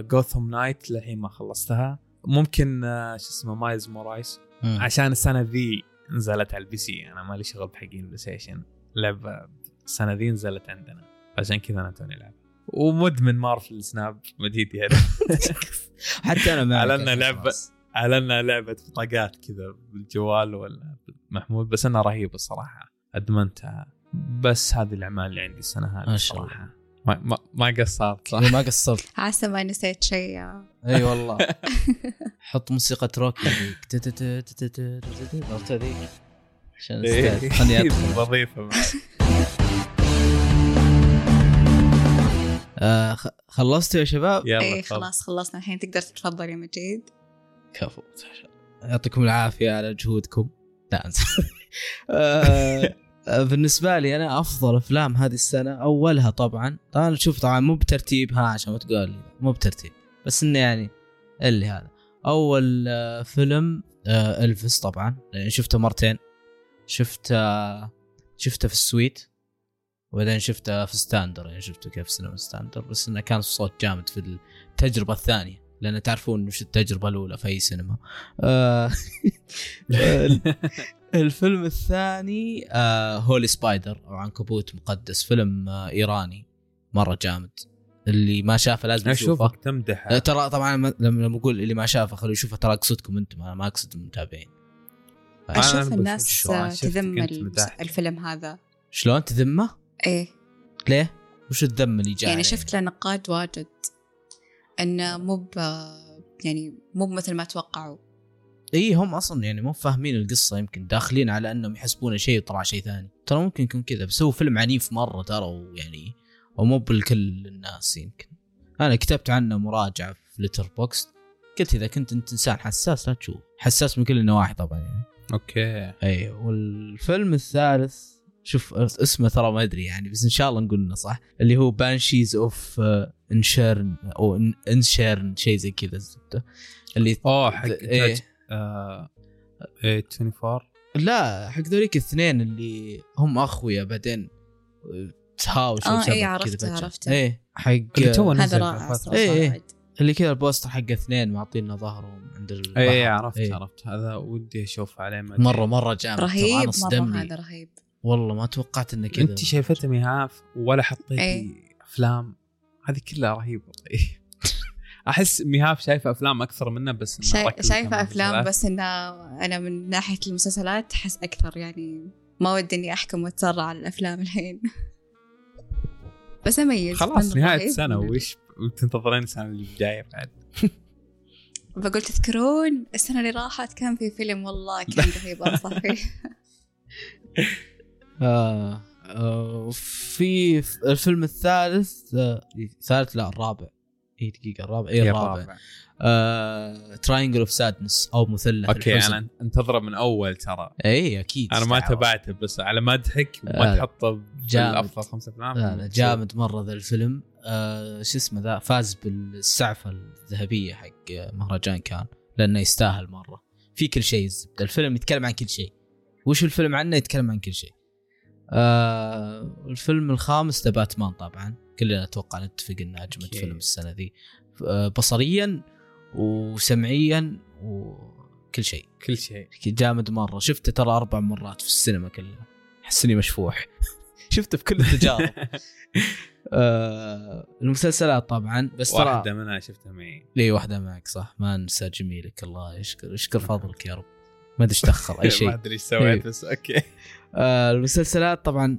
Speaker 1: جوثم نايت للحين ما خلصتها ممكن أه، شو اسمه مايز مورايس عشان السنه ذي نزلت على البي سي انا مالي شغل بحقين البلاي ستيشن لعبه السنه ذي نزلت عندنا عشان كذا انا توني العب ومدمن مارفل سناب مديد يعني
Speaker 3: حتى انا ما
Speaker 1: على
Speaker 3: أعرف
Speaker 1: إنها
Speaker 3: أصلاً.
Speaker 1: لعبة. اعلنا لعبه بطاقات كذا بالجوال ولا محمول بس انها رهيبه الصراحه ادمنتها بس هذه الاعمال اللي عندي السنه هذه
Speaker 3: ما شاء الله.
Speaker 1: الصراحه ما, ما, ما قصرت صح
Speaker 3: يعني ما قصرت
Speaker 2: عسى ما نسيت شيء يا
Speaker 3: اي والله حط موسيقى روكي ذيك تت- تت- تت- تت- تت- عرفت هذيك عشان
Speaker 1: إيه،
Speaker 3: استعد. خلني ادخل
Speaker 1: وظيفه
Speaker 3: آه، خ- خلصتوا يا شباب
Speaker 1: يلا
Speaker 2: اي
Speaker 1: خلاص
Speaker 2: إيه، خلاص خلصنا الحين تقدر تتفضل يا مجيد
Speaker 3: كفو يعطيكم العافيه على جهودكم لا أنسى. آه، آه، بالنسبه لي انا افضل افلام هذه السنه اولها طبعا طبعا شوف طبعا مو بترتيب ها عشان ما تقول لي مو بترتيب بس انه يعني اللي هذا اول آه، فيلم آه، الفس طبعا لأن شفته مرتين شفته شفته في السويت وبعدين شفته في ستاندر يعني شفته كيف سينما ستاندر بس انه كان صوت جامد في التجربه الثانيه لان تعرفون وش التجربه الاولى في اي سينما آه الفيلم الثاني آه هولي سبايدر او عنكبوت مقدس فيلم آه ايراني مره جامد اللي ما شافه لازم يشوفه
Speaker 1: اشوفك تمدح
Speaker 3: لا، ترى طبعا ما- لما لما اقول اللي ما شافه خلوه يشوفه ترى اقصدكم انتم انا ما اقصد المتابعين أنا
Speaker 2: اشوف
Speaker 1: بشوف
Speaker 2: الناس
Speaker 1: شو أنا شفت
Speaker 2: تذم
Speaker 1: كنت
Speaker 2: ال-
Speaker 1: مدحت.
Speaker 2: الفيلم هذا
Speaker 3: شلون تذمه؟
Speaker 2: ايه
Speaker 3: ليه؟ وش الذم اللي جاء
Speaker 2: يعني
Speaker 3: عليه؟
Speaker 2: شفت له نقاد واجد انه مو ب يعني مو مثل ما توقعوا
Speaker 3: اي هم اصلا يعني مو فاهمين القصه يمكن داخلين على انهم يحسبونه شيء وطلع شيء ثاني ترى ممكن يكون كذا بس هو فيلم عنيف مره ترى ويعني ومو بالكل الناس يمكن انا كتبت عنه مراجعه في لتر بوكس قلت اذا كنت انت انسان حساس لا تشوف حساس من كل النواحي طبعا يعني
Speaker 1: اوكي
Speaker 3: اي والفيلم الثالث شوف اسمه ترى ما ادري يعني بس ان شاء الله نقول انه صح اللي هو آه، بانشيز اوف انشيرن او انشيرن شيء زي كذا الزبده اللي
Speaker 1: اوه حق
Speaker 3: إيه.
Speaker 1: جاج- آه، إيه، 24
Speaker 3: لا حق ذوليك الاثنين اللي هم اخويا بعدين تهاوش
Speaker 2: آه، إيه، عرفته، عرفته.
Speaker 3: ايه حق
Speaker 1: اللي تو
Speaker 2: هذا
Speaker 1: نزل
Speaker 2: رائع
Speaker 1: من فترة.
Speaker 2: صراحه
Speaker 3: إيه، إيه.
Speaker 2: وايد.
Speaker 3: اللي كذا البوستر حق اثنين معطينا ظهرهم عند البحر
Speaker 1: اي عرفت
Speaker 3: إيه.
Speaker 1: عرفت هذا ودي اشوف عليه ما أدري.
Speaker 3: مره مره جامد ترى
Speaker 2: رهيب
Speaker 3: انا
Speaker 2: مره
Speaker 3: صدمني
Speaker 2: هذا رهيب
Speaker 3: والله ما توقعت انه كذا
Speaker 1: انت شايفته مهاف ولا
Speaker 2: إيه.
Speaker 1: حطيتي افلام هذه كلها رهيبه احس مهاف شايفه افلام اكثر منه بس إنه
Speaker 2: شاي-
Speaker 1: ركز
Speaker 2: شايفه
Speaker 1: كمان
Speaker 2: افلام
Speaker 1: مسلسلات.
Speaker 2: بس انه انا من ناحيه المسلسلات احس اكثر يعني ما ودي اني احكم واتسرع على الافلام الحين بس إيه. اميز
Speaker 1: خلاص
Speaker 2: من
Speaker 1: نهايه
Speaker 2: رهيب
Speaker 1: السنه
Speaker 2: من-
Speaker 1: وش تنتظرين السنه اللي جايه بعد
Speaker 2: بقول تذكرون السنه اللي راحت كان في فيلم والله كان رهيب انصح فيه
Speaker 3: آه آه في ف- الفيلم الثالث آه ثالث لا الرابع اي دقيقه الرابع اي
Speaker 1: يا
Speaker 3: إيه، الرابع آه،
Speaker 1: رابع.
Speaker 3: تراينجل اوف سادنس او مثلث
Speaker 1: اوكي
Speaker 3: الحزن. إيه،
Speaker 1: انا انتظره من اول ترى
Speaker 3: اي اكيد
Speaker 1: انا ما
Speaker 3: استعارة.
Speaker 1: تابعته بس على مدحك
Speaker 3: لا،
Speaker 1: وما
Speaker 3: لا.
Speaker 1: تحطه
Speaker 3: آه، جامد.
Speaker 1: بالافضل خمسة افلام
Speaker 3: لا لا جامد مره ذا الفيلم آه شو اسمه ذا فاز بالسعفه الذهبيه حق مهرجان كان لانه يستاهل مره في كل شيء الزبده الفيلم يتكلم عن كل شيء وش الفيلم عنه يتكلم عن كل شيء آه الفيلم الخامس ذا باتمان طبعا كلنا اتوقع نتفق انه اجمد
Speaker 1: أوكي.
Speaker 3: فيلم السنه ذي آه بصريا وسمعيا وكل كل شيء
Speaker 1: كل شيء
Speaker 3: جامد مره شفته ترى اربع مرات في السينما كلها احس اني مشفوح شفته في كل التجارب آه المسلسلات طبعا بس ترى
Speaker 1: واحده منها شفتها معي
Speaker 3: لي واحده معك صح ما انسى جميلك الله يشكر يشكر فضلك يا رب ما ادري ايش تاخر اي
Speaker 1: ما
Speaker 3: شيء
Speaker 1: ادري ايش سويت
Speaker 3: إيه.
Speaker 1: بس اوكي
Speaker 3: آه المسلسلات طبعا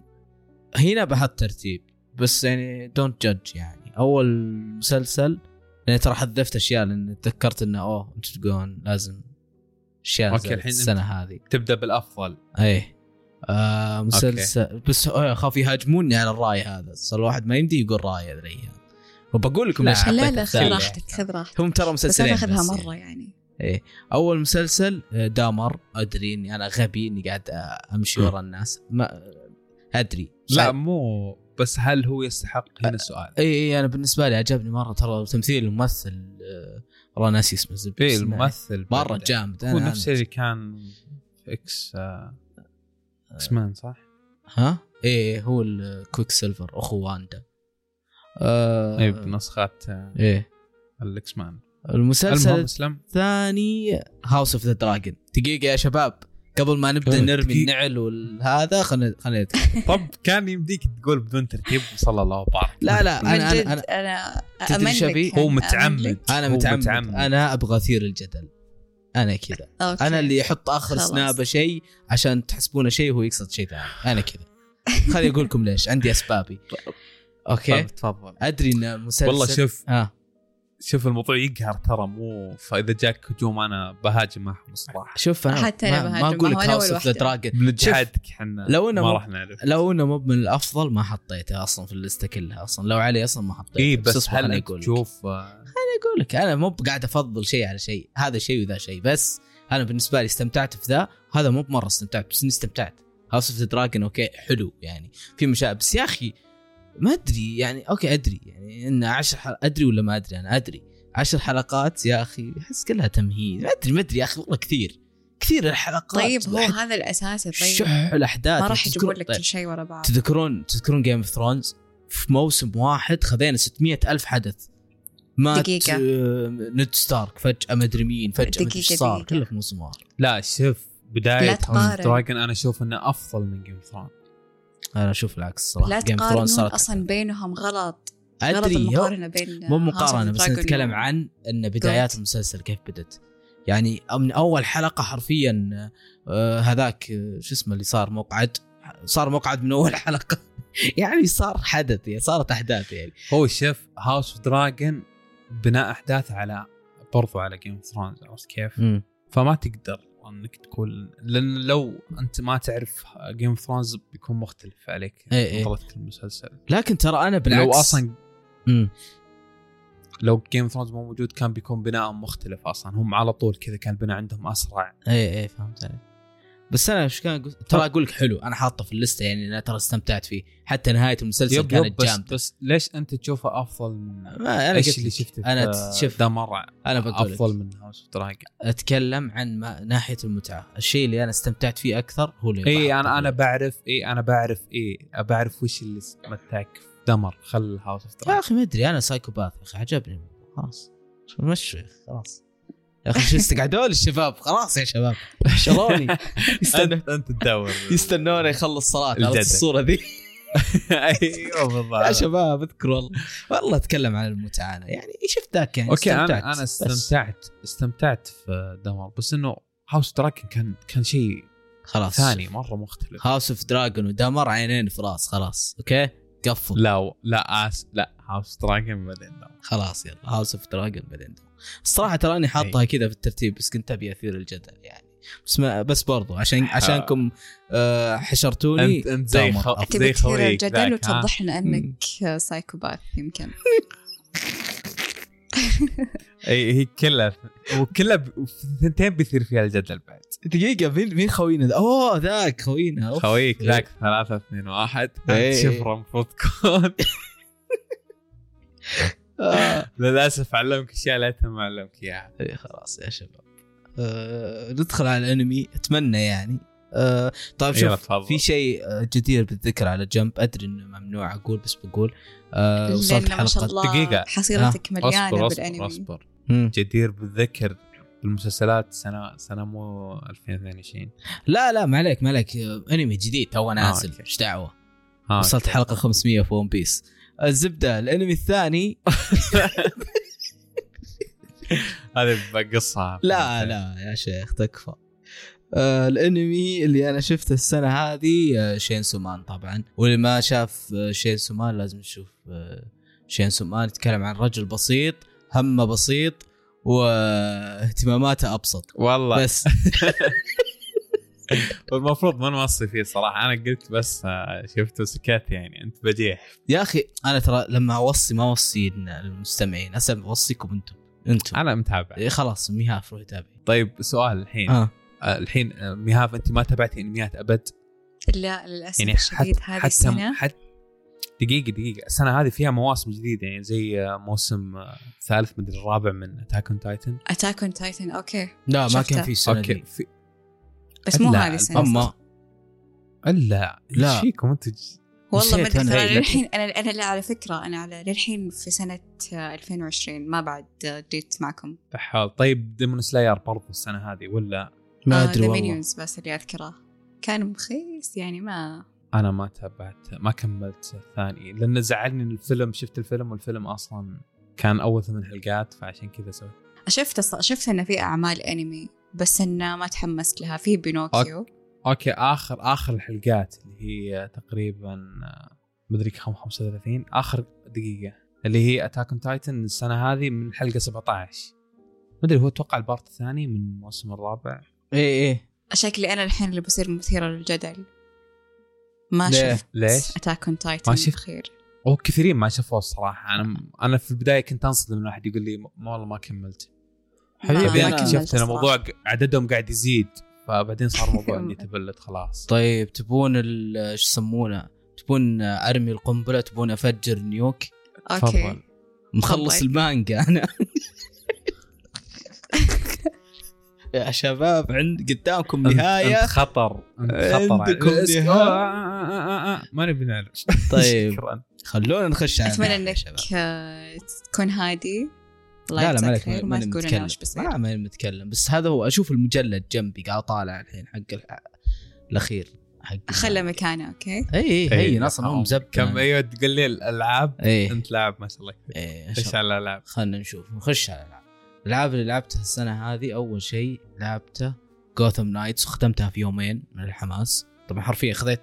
Speaker 3: هنا بحط ترتيب بس يعني دونت جادج يعني اول مسلسل يعني ترى حذفت اشياء لان تذكرت انه اوه انت تقولون لازم اشياء
Speaker 1: أوكي،
Speaker 3: نزلت
Speaker 1: الحين أنت-
Speaker 3: السنه هذه
Speaker 1: تبدا بالافضل
Speaker 3: ايه آه مسلسل بس آه، اخاف يهاجموني على الراي هذا صار الواحد ما يمدي يقول راي هذا الايام وبقول لكم
Speaker 1: لا،
Speaker 3: ليش
Speaker 2: لا
Speaker 3: حطيت
Speaker 2: لا خذ
Speaker 3: الثانية.
Speaker 2: راحتك خذ راحتك
Speaker 3: هم ترى
Speaker 2: بس
Speaker 3: مسلسلين
Speaker 2: انا اخذها
Speaker 3: بس.
Speaker 2: مره يعني
Speaker 3: اول مسلسل آه، دامر ادري اني انا غبي اني قاعد آه، امشي
Speaker 1: م.
Speaker 3: ورا الناس ما ادري
Speaker 1: لا مو بس هل هو يستحق
Speaker 3: آه،
Speaker 1: هنا السؤال
Speaker 3: اي اي انا بالنسبه لي عجبني مره ترى تمثيل الممثل آه، والله ناسي اسمه زب
Speaker 1: ايه
Speaker 3: اسمه.
Speaker 1: الممثل
Speaker 3: مره
Speaker 1: بدع.
Speaker 3: جامد
Speaker 1: هو
Speaker 3: انا
Speaker 1: نفس
Speaker 3: أنا-
Speaker 1: اللي كان في اكس آه، اكس مان صح؟
Speaker 3: ها ايه هو الكويك سيلفر اخو واندا آه
Speaker 1: اي بنسخات آه،
Speaker 3: ايه
Speaker 1: الاكس إيه، مان المهم
Speaker 3: المسلسل
Speaker 1: اسلم
Speaker 3: الثاني هاوس اوف ذا دراجون دقيقه يا شباب قبل ما نبدا
Speaker 1: قبل
Speaker 3: نرمي
Speaker 1: دقيقة.
Speaker 3: النعل والهذا خلينا خلينا
Speaker 1: طب كان يمديك تقول بدون ترتيب صلى الله وبارك
Speaker 3: لا لا
Speaker 2: من
Speaker 3: انا
Speaker 2: جد
Speaker 3: انا, أنا
Speaker 2: انا
Speaker 3: تدري
Speaker 2: أأمن
Speaker 3: إيش
Speaker 2: لك
Speaker 3: أبي؟
Speaker 2: يعني،
Speaker 1: هو
Speaker 2: أأمن
Speaker 1: متعمد
Speaker 2: لك.
Speaker 3: انا
Speaker 1: هو
Speaker 3: متعمد انا ابغى اثير الجدل انا كذا
Speaker 2: أوكي.
Speaker 3: انا اللي يحط اخر
Speaker 2: خلاص.
Speaker 3: سنابه شيء عشان تحسبونه شيء وهو يقصد شيء ثاني انا كذا خليني اقول لكم ليش عندي اسبابي اوكي
Speaker 1: طب تفضل
Speaker 3: ادري ان مسلسل
Speaker 1: والله شوف
Speaker 3: اه
Speaker 1: شوف الموضوع يقهر ترى مو فاذا جاك هجوم انا بهاجمهم الصراحه
Speaker 3: شوف انا
Speaker 2: حتى أنا
Speaker 3: ما,
Speaker 2: بهاجم،
Speaker 3: ما اقول لك
Speaker 2: ما هو أنا
Speaker 3: هاوس اوف ذا
Speaker 2: والوحدة.
Speaker 3: دراجون
Speaker 1: بنجحدك احنا
Speaker 3: لو إنه
Speaker 1: ما
Speaker 3: مو-
Speaker 1: راح نعرف
Speaker 3: لو انه مو من الافضل ما حطيته اصلا في اللسته كلها اصلا لو علي اصلا ما حطيته
Speaker 1: اي إيه، بس
Speaker 3: اصبر
Speaker 1: هل
Speaker 3: خليني
Speaker 1: انت
Speaker 3: أقول لك.
Speaker 1: تشوف آه،
Speaker 3: انا اقول لك انا مو قاعد افضل شيء على شيء هذا شيء وذا شيء بس انا بالنسبه لي استمتعت في ذا هذا مو بمره استمتعت بس اني استمتعت هاوس اوف دراجون اوكي حلو يعني في مشاهد بس يا اخي ما ادري يعني اوكي ادري يعني ان عشر حلقات ادري ولا ما ادري انا ادري عشر حلقات يا اخي احس كلها تمهيد ما ادري ما ادري يا اخي والله كثير كثير الحلقات
Speaker 2: طيب هو
Speaker 3: الواحد
Speaker 2: هذا الاساسي طيب
Speaker 3: شح الاحداث
Speaker 2: ما راح
Speaker 3: تذكر-
Speaker 2: يجيبون لك
Speaker 3: طيب.
Speaker 2: كل شيء ورا بعض
Speaker 3: تذكرون تذكرون جيم اوف ثرونز في موسم واحد خذينا 600 ألف حدث مات
Speaker 2: دقيقة.
Speaker 3: آه، نيد ستارك فجأة مدري مين فجأة مدري ايش
Speaker 2: دقيقة،
Speaker 3: صار
Speaker 2: دقيقة.
Speaker 3: كله في موسم واحد
Speaker 1: لا شوف
Speaker 2: لا
Speaker 1: بدايه
Speaker 2: تقارن.
Speaker 1: دراجون انا اشوف انه افضل من جيم ثرون
Speaker 3: أنا أشوف العكس صراحة
Speaker 2: لا
Speaker 3: Game of Thrones
Speaker 2: تقارنون
Speaker 3: صارت-
Speaker 2: اصلا بينهم غلط غلط
Speaker 3: أدري هو-
Speaker 2: المقارنة بين آه،
Speaker 3: مو
Speaker 2: House
Speaker 3: مقارنة
Speaker 2: of
Speaker 3: بس
Speaker 2: Dragon
Speaker 3: نتكلم
Speaker 2: و-
Speaker 3: عن أن بدايات
Speaker 2: Goat.
Speaker 3: المسلسل كيف بدت يعني من أول حلقة حرفيا آه، هذاك آه، شو اسمه اللي صار مقعد صار مقعد من أول حلقة يعني صار حدث يعني صارت أحداث يعني
Speaker 1: هو شوف هاوس اوف دراجون بناء احداث على برضو على جيم اوف ثرونز عرفت كيف؟ فما تقدر انك تقول لان لو انت ما تعرف جيم اوف ثرونز بيكون مختلف عليك
Speaker 3: إيه إيه.
Speaker 1: نظرتك للمسلسل
Speaker 3: لكن ترى أنا بالعكس
Speaker 1: لو اصلا
Speaker 3: مم.
Speaker 1: لو جيم اوف ثرونز مو موجود كان بيكون بناء مختلف اصلا هم على طول كذا كان البناء عندهم اسرع
Speaker 3: اي اي فهمت عليك بس انا ايش كان قلت ترى اقول لك حلو انا حاطه في اللسته يعني انا ترى استمتعت فيه حتى نهايه المسلسل
Speaker 1: يب يب
Speaker 3: كانت
Speaker 1: بس,
Speaker 3: جامده
Speaker 1: بس ليش انت تشوفه افضل من
Speaker 3: ما انا
Speaker 1: ايش
Speaker 3: قلت
Speaker 1: اللي
Speaker 3: لك،
Speaker 1: شفته
Speaker 3: انا
Speaker 1: في-
Speaker 3: شوف
Speaker 1: ده مره
Speaker 3: انا بقول
Speaker 1: افضل
Speaker 3: افضل
Speaker 1: من هاوس اوف دراجون
Speaker 3: اتكلم عن ما ناحيه المتعه الشيء اللي انا استمتعت فيه اكثر هو اللي
Speaker 1: اي
Speaker 3: يبقى.
Speaker 1: انا انا إيه، بعرف اي انا بعرف اي بعرف وش اللي متاك في دمر خل هاوس اوف
Speaker 3: يا
Speaker 1: دراجون
Speaker 3: اخي ما ادري انا سايكوباث يا اخي عجبني خلاص شو مشي خلاص يا اخي شو استقعدوا لي الشباب خلاص يا شباب شروني يستنى
Speaker 1: انت تدور
Speaker 3: يستنوني يخلص صلاه عرفت
Speaker 1: الجدل.
Speaker 3: الصوره ذي
Speaker 1: ايوه
Speaker 3: يا
Speaker 1: بالضبط
Speaker 3: شباب اذكر والله والله اتكلم عن المتعه انا يعني شفت ذاك يعني
Speaker 1: اوكي
Speaker 3: استمتعت
Speaker 1: انا انا
Speaker 3: بس.
Speaker 1: استمتعت استمتعت في دمر بس انه هاوس دراجون كان كان شيء
Speaker 3: خلاص
Speaker 1: ثاني مره مختلف
Speaker 3: هاوس اوف دراجون ودمر عينين في راس خلاص اوكي قفل
Speaker 1: لا لا اس لا هاوس دراجون بعدين دمر
Speaker 3: خلاص يلا هاوس اوف دراجون بعدين دمر الصراحه ترى اني حاطها كذا في الترتيب بس كنت ابي اثير الجدل يعني بس ما بس برضو عشان عشانكم آه حشرتوني
Speaker 1: انت انت زي
Speaker 3: دمر.
Speaker 1: خو...
Speaker 2: تبي
Speaker 1: زي
Speaker 2: تثير
Speaker 1: خويك ذاك،
Speaker 2: الجدل
Speaker 1: ها؟
Speaker 2: وتوضح لنا انك سايكوباث يمكن
Speaker 1: اي إيه، هي كلها وكلها ب... ثنتين بيثير فيها الجدل بعد
Speaker 3: دقيقه مين مين خوينا ذا؟ اوه ذاك خوينا أوف.
Speaker 1: خويك ذاك ثلاثة اثنين واحد
Speaker 3: إيه.
Speaker 1: انت شفرة المفروض تكون
Speaker 3: آه.
Speaker 1: للاسف علمك اشياء لا ما علمك اياها
Speaker 3: إيه، خلاص يا شباب آه ندخل على الانمي اتمنى يعني آه طيب
Speaker 1: يلا
Speaker 3: شوف
Speaker 1: تفضل.
Speaker 3: في شيء آه، جدير بالذكر على جنب ادري انه ممنوع اقول بس بقول آه وصلت
Speaker 2: لأن ما شاء
Speaker 3: حلقه
Speaker 2: الله
Speaker 1: دقيقة. آه،
Speaker 2: حصيلتك مليانه
Speaker 1: اصبر اصبر
Speaker 2: بالانمي
Speaker 1: اصبر
Speaker 3: مم.
Speaker 1: جدير بالذكر بالمسلسلات سنه سنه مو 2022
Speaker 3: لا لا ما عليك ما عليك آه، انمي جديد تو نازل
Speaker 1: أوكي.
Speaker 3: ايش دعوه
Speaker 1: آه،
Speaker 3: وصلت
Speaker 1: أوكي.
Speaker 3: حلقه 500 في ون بيس الزبده الانمي الثاني
Speaker 1: هذه بقصها
Speaker 3: لا لا يا شيخ تكفى آه الانمي اللي انا شفته السنه هذه آه شين سومان طبعا واللي ما شاف آه شين سومان لازم يشوف آه شين سومان يتكلم عن رجل بسيط همه بسيط واهتماماته ابسط
Speaker 1: والله
Speaker 3: بس
Speaker 1: والمفروض ما نوصي فيه صراحه انا قلت بس آه، شفته سكت يعني انت بديح
Speaker 3: يا اخي انا ترى لما اوصي ما اوصي المستمعين هسه اوصيكم انتم انتم
Speaker 1: انا متابع
Speaker 3: إيه خلاص ميهاف روح تابع
Speaker 1: طيب سؤال الحين
Speaker 3: آه.
Speaker 1: آه، الحين آه، ميهاف انت ما تابعتي انميات ابد
Speaker 2: لا للاسف
Speaker 1: يعني
Speaker 2: يعني الشديد
Speaker 1: حتى
Speaker 2: هذه
Speaker 1: حتى
Speaker 2: السنه
Speaker 1: حتى دقيقة دقيقة السنة هذه فيها مواسم جديدة يعني زي آه، موسم آه، ثالث مدري الرابع من اتاك اون تايتن
Speaker 2: اتاك اون تايتن اوكي
Speaker 3: لا ما
Speaker 2: شفته.
Speaker 3: كان في سنه
Speaker 1: اوكي
Speaker 3: دي.
Speaker 1: في
Speaker 2: بس مو
Speaker 1: لا،
Speaker 2: هذه السنه
Speaker 3: اما
Speaker 1: لا
Speaker 3: لا.
Speaker 1: ايش فيكم انتم
Speaker 2: والله ما
Speaker 3: نسيت
Speaker 2: ادري
Speaker 3: أنا
Speaker 2: ترى
Speaker 3: عيد
Speaker 2: للحين انا انا لا على فكره انا على للحين في سنه آه، 2020 ما بعد آه، جيت معكم
Speaker 1: فحال طيب ديمون سلاير برضو السنة هذه ولا
Speaker 3: ما
Speaker 2: آه،
Speaker 3: ادري والله
Speaker 2: والله بس اللي اذكره كان مخيس يعني ما
Speaker 1: انا ما تابعت ما كملت الثاني لان زعلني الفيلم شفت الفيلم والفيلم اصلا كان اول ثمان حلقات فعشان كذا سويت
Speaker 2: شفت الص- شفت انه في اعمال انمي بس انه ما تحمست لها في بينوكيو
Speaker 1: اوكي اخر اخر الحلقات اللي هي تقريبا آه، مدري كم 35 اخر دقيقه اللي هي اتاك اون تايتن السنه هذه من الحلقه 17 مدري هو اتوقع البارت الثاني من الموسم الرابع
Speaker 3: ايه ايه
Speaker 2: شكلي انا الحين اللي بصير مثيره للجدل ما
Speaker 3: ليه؟
Speaker 2: شفت
Speaker 1: ليش؟
Speaker 2: اتاك اون تايتن
Speaker 1: ما شفت؟
Speaker 2: خير
Speaker 1: او كثيرين ما شافوه الصراحه انا انا في البدايه كنت انصدم من واحد يقول لي ما والله ما كملت
Speaker 3: حبيبي،
Speaker 1: بعدين
Speaker 3: أنا
Speaker 1: اكتشفت ان الموضوع ق- عددهم قاعد يزيد فبعدين صار الموضوع اني تبلت خلاص
Speaker 3: طيب تبون ال- ايش يسمونه؟ تبون ارمي القنبله تبون افجر نيوك
Speaker 2: اوكي
Speaker 3: مخلص
Speaker 2: طيب.
Speaker 3: المانجا انا يا شباب عند قدامكم
Speaker 1: أنت-
Speaker 3: نهايه
Speaker 1: انت خطر انت خطر
Speaker 3: عندكم
Speaker 1: على-
Speaker 3: نهاية.
Speaker 1: آه، آه، آه، آه، آه، ما نبي نعرف
Speaker 3: طيب.
Speaker 1: شكراً.
Speaker 3: خلونا نخش على
Speaker 2: اتمنى
Speaker 3: النهاية يا
Speaker 2: انك
Speaker 3: شباب.
Speaker 2: آه، تكون هادي الله
Speaker 3: لا لا
Speaker 2: يجزاك
Speaker 3: مالك
Speaker 2: خير وما
Speaker 3: ماني
Speaker 2: تقول انا
Speaker 3: متكلم
Speaker 2: وش بصير
Speaker 3: ما ماني متكلم بس هذا هو اشوف المجلد جنبي قاعد طالع الحين حق ال- الاخير حق
Speaker 2: خله مكانه اوكي
Speaker 3: اي اي هي
Speaker 1: إيه،
Speaker 3: اصلا هو
Speaker 1: أو
Speaker 3: مزبط
Speaker 1: كم ايوه تقول لي الالعاب
Speaker 3: اي
Speaker 1: انت لاعب ما إيه، شاء الله كثير
Speaker 3: اي
Speaker 1: ايش على الالعاب؟
Speaker 3: خلنا نشوف نخش على الالعاب الالعاب اللي لعبتها السنه هذه اول شيء لعبته جوثم نايتس وختمتها في يومين من الحماس طبعا حرفيا خذيت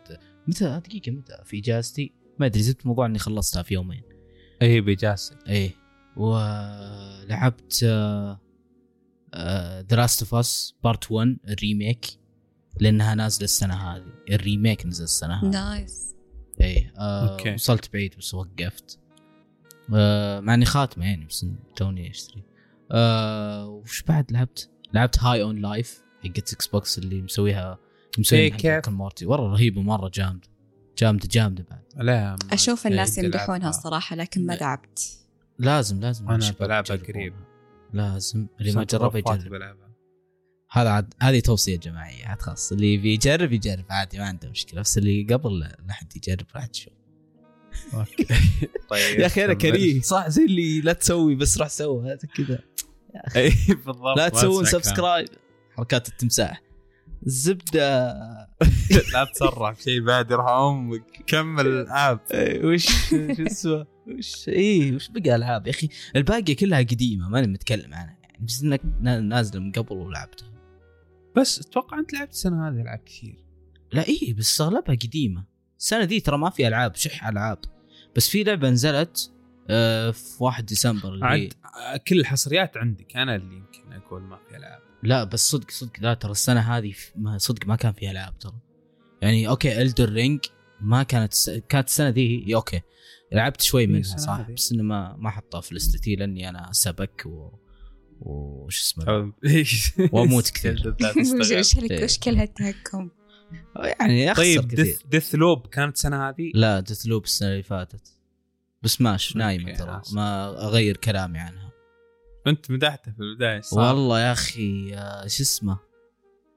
Speaker 3: متى دقيقه متى في اجازتي ما ادري زدت موضوع اني خلصتها في يومين
Speaker 1: اي بجاسك
Speaker 3: ايه ولعبت آه، دراست اوف اس بارت 1 الريميك لانها نازله السنه هذه الريميك نزل السنه هذه
Speaker 2: نايس
Speaker 3: ايه آه
Speaker 1: أوكي.
Speaker 3: وصلت بعيد بس وقفت آه مع اني خاتمه يعني بس توني اشتري آه وش بعد لعبت؟ لعبت هاي اون لايف حقت اكس بوكس اللي مسويها
Speaker 1: إيه،
Speaker 3: مسويها
Speaker 1: كيف؟
Speaker 3: حق مورتي والله رهيبه مره جامده جامده جامده بعد
Speaker 1: لا ما
Speaker 2: اشوف
Speaker 1: أدري،
Speaker 2: الناس
Speaker 3: إيه،
Speaker 1: يمكن
Speaker 2: يمدحونها
Speaker 3: آه.
Speaker 1: ألعبها.
Speaker 2: الصراحه لكن ما لعبت
Speaker 3: لازم لازم
Speaker 1: أنا
Speaker 3: الشباب
Speaker 1: بلعبها
Speaker 3: يجربوها.
Speaker 1: قريب.
Speaker 3: لازم اللي ما
Speaker 1: سنت
Speaker 3: جربه
Speaker 1: رفعت
Speaker 3: يجرب
Speaker 1: بلعبها.
Speaker 3: هذا عاد هذه توصيه جماعيه عاد خلاص اللي بيجرب يجرب عادي ما عنده مشكله بس اللي قبل لا لا حد يجرب راح تشوف
Speaker 1: اوكي طيب
Speaker 3: يا اخي انا
Speaker 1: كمل.
Speaker 3: كريه صح زي اللي لا تسوي بس راح سوي هذا كذا
Speaker 1: اي بالضبط
Speaker 3: لا
Speaker 1: ما
Speaker 3: تسوون
Speaker 1: أسمع كلام.
Speaker 3: سبسكرايب حركات التمساح الزبده
Speaker 1: لا تسرع في شيء بعد يرحم امك كمل الالعاب
Speaker 3: إيه، وش شو اسمه وش ايه وش بقى العاب يا اخي الباقيه كلها قديمه ماني متكلم عنها يعني بس انك نا- نازله من قبل ولعبتها
Speaker 1: بس اتوقع انت لعبت السنه هذه العاب كثير
Speaker 3: لا ايه بس اغلبها قديمه السنه دي ترى ما في العاب شح العاب بس في لعبه نزلت آه، في 1 ديسمبر اللي
Speaker 1: عاد آه، كل الحصريات عندك انا اللي يمكن اقول ما في العاب
Speaker 3: لا بس صدق صدق لا ترى السنه هذه ف- ما صدق ما كان فيها العاب ترى يعني اوكي الدر رينج ما كانت س... كانت السنه دي هي اوكي لعبت شوي
Speaker 1: إيه،
Speaker 3: منها
Speaker 1: السنة
Speaker 3: صح
Speaker 1: هذه.
Speaker 3: بس انه ما ما حطها في لستي لاني انا سبك و وش اسمه وأموت كثير.
Speaker 2: وش
Speaker 3: إيه.
Speaker 2: لك- وش كل هالتهكم
Speaker 3: يعني اخسر
Speaker 1: طيب
Speaker 3: كثير
Speaker 1: ديث, ديث لوب كانت السنه هذه
Speaker 3: لا ديث لوب السنه اللي فاتت بس ماش نايمه
Speaker 1: أوكي،
Speaker 3: ترى
Speaker 1: آسف.
Speaker 3: ما اغير كلامي عنها
Speaker 1: انت مدحته في البدايه صح؟
Speaker 3: والله يا اخي آه، شو اسمه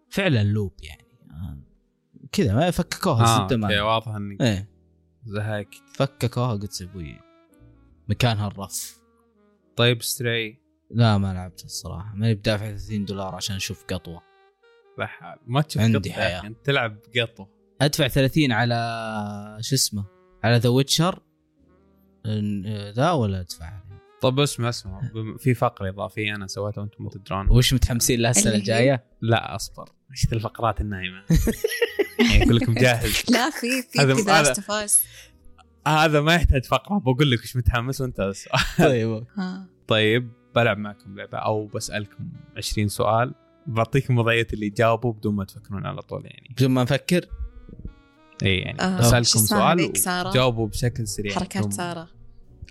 Speaker 3: فعلا لوب يعني آه، كذا ما فككوها
Speaker 1: آه،
Speaker 3: الزبده
Speaker 1: اوكي
Speaker 3: ما
Speaker 1: واضح انك
Speaker 3: ايه
Speaker 1: زهقت
Speaker 3: فككوها قلت ابوي مكانها الرف
Speaker 1: طيب ستري
Speaker 3: لا ما لعبت الصراحه ماني بدافع 30 دولار عشان اشوف قطوه
Speaker 1: لحال ما تشوف
Speaker 3: عندي
Speaker 1: قطة يا أخي،
Speaker 3: حياة.
Speaker 1: انت تلعب قطه
Speaker 3: ادفع 30 على شو اسمه على ذا ويتشر ذا ولا ادفع عليه؟
Speaker 1: طب طيب، اسمع اسمع بم- في فقره اضافيه انا سويتها وانتم ما تدرون
Speaker 3: وش متحمسين لها السنه
Speaker 2: اللي هي؟
Speaker 3: الجايه؟
Speaker 1: لا اصبر ايش ذي الفقرات النايمه يعني اقول لكم جاهز
Speaker 2: لا في في
Speaker 1: هذا-
Speaker 2: كذا
Speaker 1: هذا-
Speaker 2: استفاس
Speaker 1: هذا ما يحتاج فقره بقول لك وش متحمس وانت بس
Speaker 3: طيب
Speaker 2: ها
Speaker 1: طيب بلعب معكم لعبه او بسالكم 20 سؤال بعطيكم وضعيه اللي جاوبوا بدون ما تفكرون على طول يعني
Speaker 3: بدون ما نفكر
Speaker 1: اي يعني
Speaker 2: آه، شو
Speaker 1: بسالكم
Speaker 2: اسمها
Speaker 1: سؤال
Speaker 2: هذيك سارة؟
Speaker 1: جاوبوا بشكل
Speaker 3: إيه،
Speaker 1: سريع
Speaker 2: حركات
Speaker 1: بدون-
Speaker 2: سارة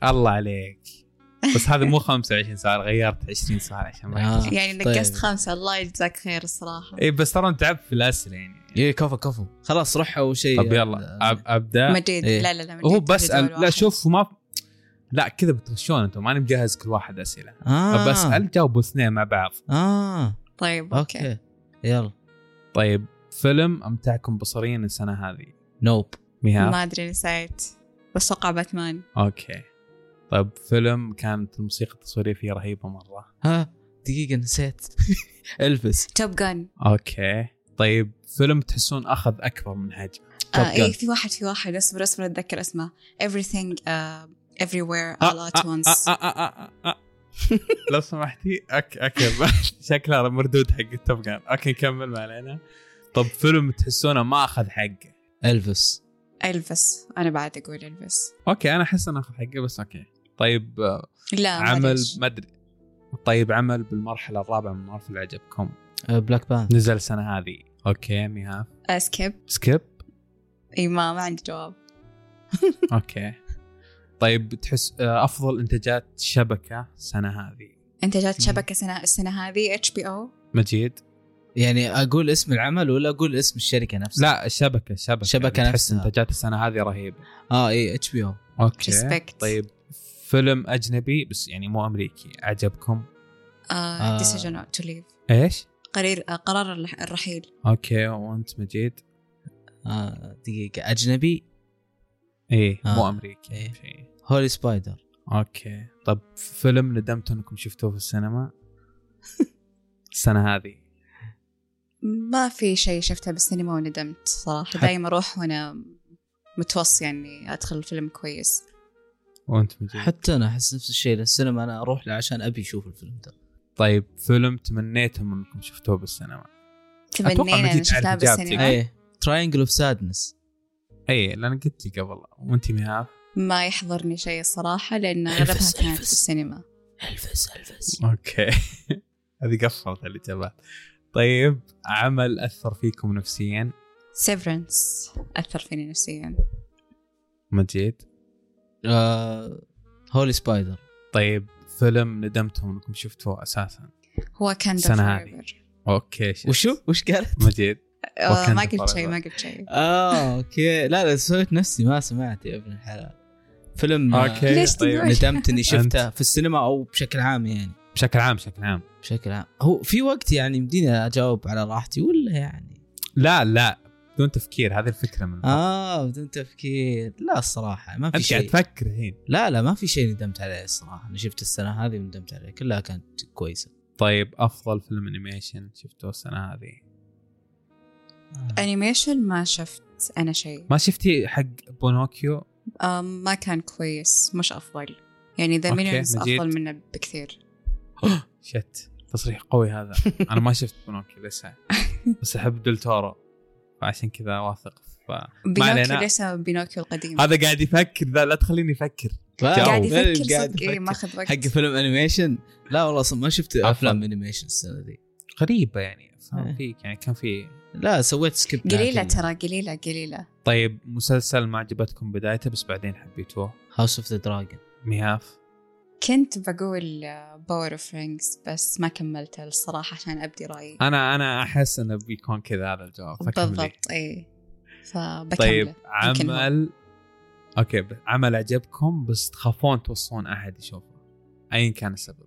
Speaker 1: الله عليك بس هذا مو 25 سؤال غيرت 20 سؤال عشان ما
Speaker 3: آه.
Speaker 1: يحتاج.
Speaker 2: يعني
Speaker 3: طيب.
Speaker 2: نقصت خمسة الله يجزاك خير الصراحة
Speaker 1: اي بس ترى أنا تعبت في الاسئله يعني
Speaker 3: ايه كفو كفو خلاص روح او شيء آه.
Speaker 1: طب يلا أب- ابدا
Speaker 2: مجيد
Speaker 3: إيه.
Speaker 2: لا لا لا مجيد
Speaker 1: هو
Speaker 2: تجي
Speaker 1: بسال
Speaker 2: جوال
Speaker 1: لا
Speaker 2: واحد.
Speaker 1: شوف ما لا كذا بتغشون انتم ماني مجهز كل واحد اسئله
Speaker 3: آه.
Speaker 1: بسال جاوبوا اثنين مع بعض
Speaker 3: اه
Speaker 2: طيب اوكي
Speaker 3: اوكي يلا
Speaker 1: طيب فيلم امتعكم بصريا السنه هذه
Speaker 3: نوب
Speaker 1: مهاب
Speaker 2: ما ادري نسيت بس اتوقع باتمان
Speaker 1: اوكي طيب فيلم كانت الموسيقى التصويريه فيه رهيبه مره
Speaker 3: ها دقيقه نسيت البس
Speaker 2: توب آه، جان
Speaker 1: اوكي طيب فيلم تحسون اخذ اكبر من حجمه
Speaker 2: آه
Speaker 3: Top
Speaker 2: اي
Speaker 3: Gun.
Speaker 2: في واحد في واحد اصبر اصبر اتذكر اسمه everything uh, everywhere
Speaker 1: آه،
Speaker 2: all at
Speaker 1: آه،
Speaker 2: once
Speaker 1: آه، آه، آه، آه، آه. لو سمحتي أك أكب شكلها مردود حق التوب جان اوكي نكمل ما علينا طب فيلم تحسونه ما اخذ حقه
Speaker 3: البس
Speaker 1: آه.
Speaker 2: الفس انا بعد اقول الفس
Speaker 1: اوكي انا احس انه اخذ حقه بس اوكي طيب آه،
Speaker 2: لا ما
Speaker 1: عمل
Speaker 2: ليش.
Speaker 1: ما ادري طيب عمل بالمرحله الرابعه من مارفل عجبكم
Speaker 3: بلاك بان
Speaker 1: نزل السنه هذه اوكي مهاب
Speaker 2: آه، سكيب
Speaker 1: سكيب
Speaker 2: اي ما ما عندي جواب
Speaker 1: اوكي طيب تحس آه، افضل انتاجات شبكه السنه هذه
Speaker 2: انتاجات شبكه سنه السنه هذه اتش بي او
Speaker 1: مجيد
Speaker 3: يعني اقول اسم العمل ولا اقول اسم الشركه نفسها
Speaker 1: لا الشبكه الشبكه
Speaker 3: شبكة
Speaker 1: تحس
Speaker 3: نفسها.
Speaker 1: انتاجات السنه هذه رهيبه
Speaker 3: اه اي اتش بي او
Speaker 1: اوكي
Speaker 2: ريسبكت
Speaker 1: طيب فيلم اجنبي بس يعني مو امريكي عجبكم
Speaker 2: آه.
Speaker 3: آه.
Speaker 2: decision to leave
Speaker 1: ايش
Speaker 2: قرير آه، قرار الرح- الرحيل
Speaker 1: اوكي وانت مجيد
Speaker 3: آه دقيقه اجنبي
Speaker 1: ايه
Speaker 3: آه،
Speaker 1: مو امريكي
Speaker 3: إيه.
Speaker 1: شيء.
Speaker 3: هولي سبايدر
Speaker 1: اوكي طب فيلم ندمتوا انكم شفتوه في السينما السنه هذه
Speaker 2: ما في شيء شفته بالسينما وندمت صراحه
Speaker 1: حتى-
Speaker 2: دايما اروح وانا متوصي يعني ادخل الفيلم كويس
Speaker 1: وانت مجيد
Speaker 3: حتى انا احس نفس الشيء للسينما انا اروح له عشان ابي اشوف الفيلم ده
Speaker 1: طيب فيلم تمنيتم انكم شفتوه بالسينما
Speaker 2: تمنينا ان
Speaker 1: مجيد
Speaker 2: شفناه
Speaker 1: عارف إجابتك. إيه.
Speaker 2: بالسينما
Speaker 3: ايه تراينجل اوف سادنس
Speaker 1: اي لان إيه، قلت لي قبل وانت مهاب
Speaker 2: ما يحضرني شيء الصراحه لان
Speaker 3: ألفس-
Speaker 2: اغلبها كانت
Speaker 3: ألفس.
Speaker 2: في السينما
Speaker 3: الفس الفس
Speaker 1: اوكي هذه قفلت الاجابات طيب عمل اثر فيكم نفسيا
Speaker 2: سيفرنس اثر فيني نفسيا
Speaker 1: مجيد
Speaker 3: آه هولي سبايدر
Speaker 1: طيب فيلم ندمتم انكم شفتوه اساسا
Speaker 2: هو كان
Speaker 1: السنة هذه. اوكي شفت.
Speaker 3: وشو وش قالت؟
Speaker 1: مجيد وكان
Speaker 2: آه، ما
Speaker 1: ذا
Speaker 2: قلت شيء
Speaker 1: Forever.
Speaker 2: ما قلت شيء
Speaker 3: اه اوكي لا لا سويت نفسي ما سمعت يا ابن الحلال فيلم آه،
Speaker 1: اوكي
Speaker 2: ليش تقول؟
Speaker 3: ندمت اني شفته في السينما او بشكل عام يعني
Speaker 1: بشكل عام بشكل عام
Speaker 3: بشكل عام هو في وقت يعني يمديني اجاوب على راحتي ولا يعني
Speaker 1: لا لا بدون تفكير هذه الفكره من الفقرة.
Speaker 3: اه بدون تفكير لا الصراحه ما في
Speaker 1: انت قاعد
Speaker 3: شيء
Speaker 1: تفكر الحين
Speaker 3: لا لا ما في شيء ندمت عليه الصراحه انا شفت السنه هذه وندمت عليه كلها كانت كويسه
Speaker 1: طيب افضل فيلم انيميشن شفتوه السنه هذه
Speaker 2: انيميشن ما شفت انا شيء
Speaker 1: ما شفتي حق بونوكيو
Speaker 2: آم، ما كان كويس مش افضل يعني ذا
Speaker 1: أوكي،
Speaker 2: مينيونز
Speaker 1: مجيد.
Speaker 2: افضل منه بكثير
Speaker 1: شت تصريح قوي هذا انا ما شفت بونوكيو لسه بس احب دلتورو فعشان كذا واثق ف...
Speaker 2: بينوكيو
Speaker 1: علينا.
Speaker 2: ليس بينوكيو القديم
Speaker 1: هذا قاعد يفكر ذا لا تخليني افكر
Speaker 2: قاعد
Speaker 1: أو.
Speaker 2: يفكر
Speaker 3: قاعد
Speaker 2: صدق إيه
Speaker 3: يفكر.
Speaker 2: ما اخذ وقت
Speaker 3: حق فيلم انيميشن لا والله اصلا ما شفت
Speaker 1: عفواً.
Speaker 3: افلام انيميشن السنه ذي
Speaker 1: غريبه يعني فاهم
Speaker 3: إيه.
Speaker 1: فيك يعني كان في
Speaker 3: لا سويت سكيب
Speaker 2: قليله ترى قليله قليله
Speaker 1: طيب مسلسل ما عجبتكم بدايته بس بعدين حبيتوه
Speaker 3: هاوس اوف ذا دراجون
Speaker 1: مياف
Speaker 2: كنت بقول باور اوف رينجز بس ما كملته الصراحه عشان ابدي رايي
Speaker 1: انا انا احس انه بيكون كذا هذا الجواب آه، فكملي.
Speaker 2: بالضبط إيه. اي فبكمله
Speaker 1: طيب
Speaker 2: يمكن هو.
Speaker 1: عمل اوكي ب- عمل عجبكم بس تخافون توصون احد يشوفه ايا كان السبب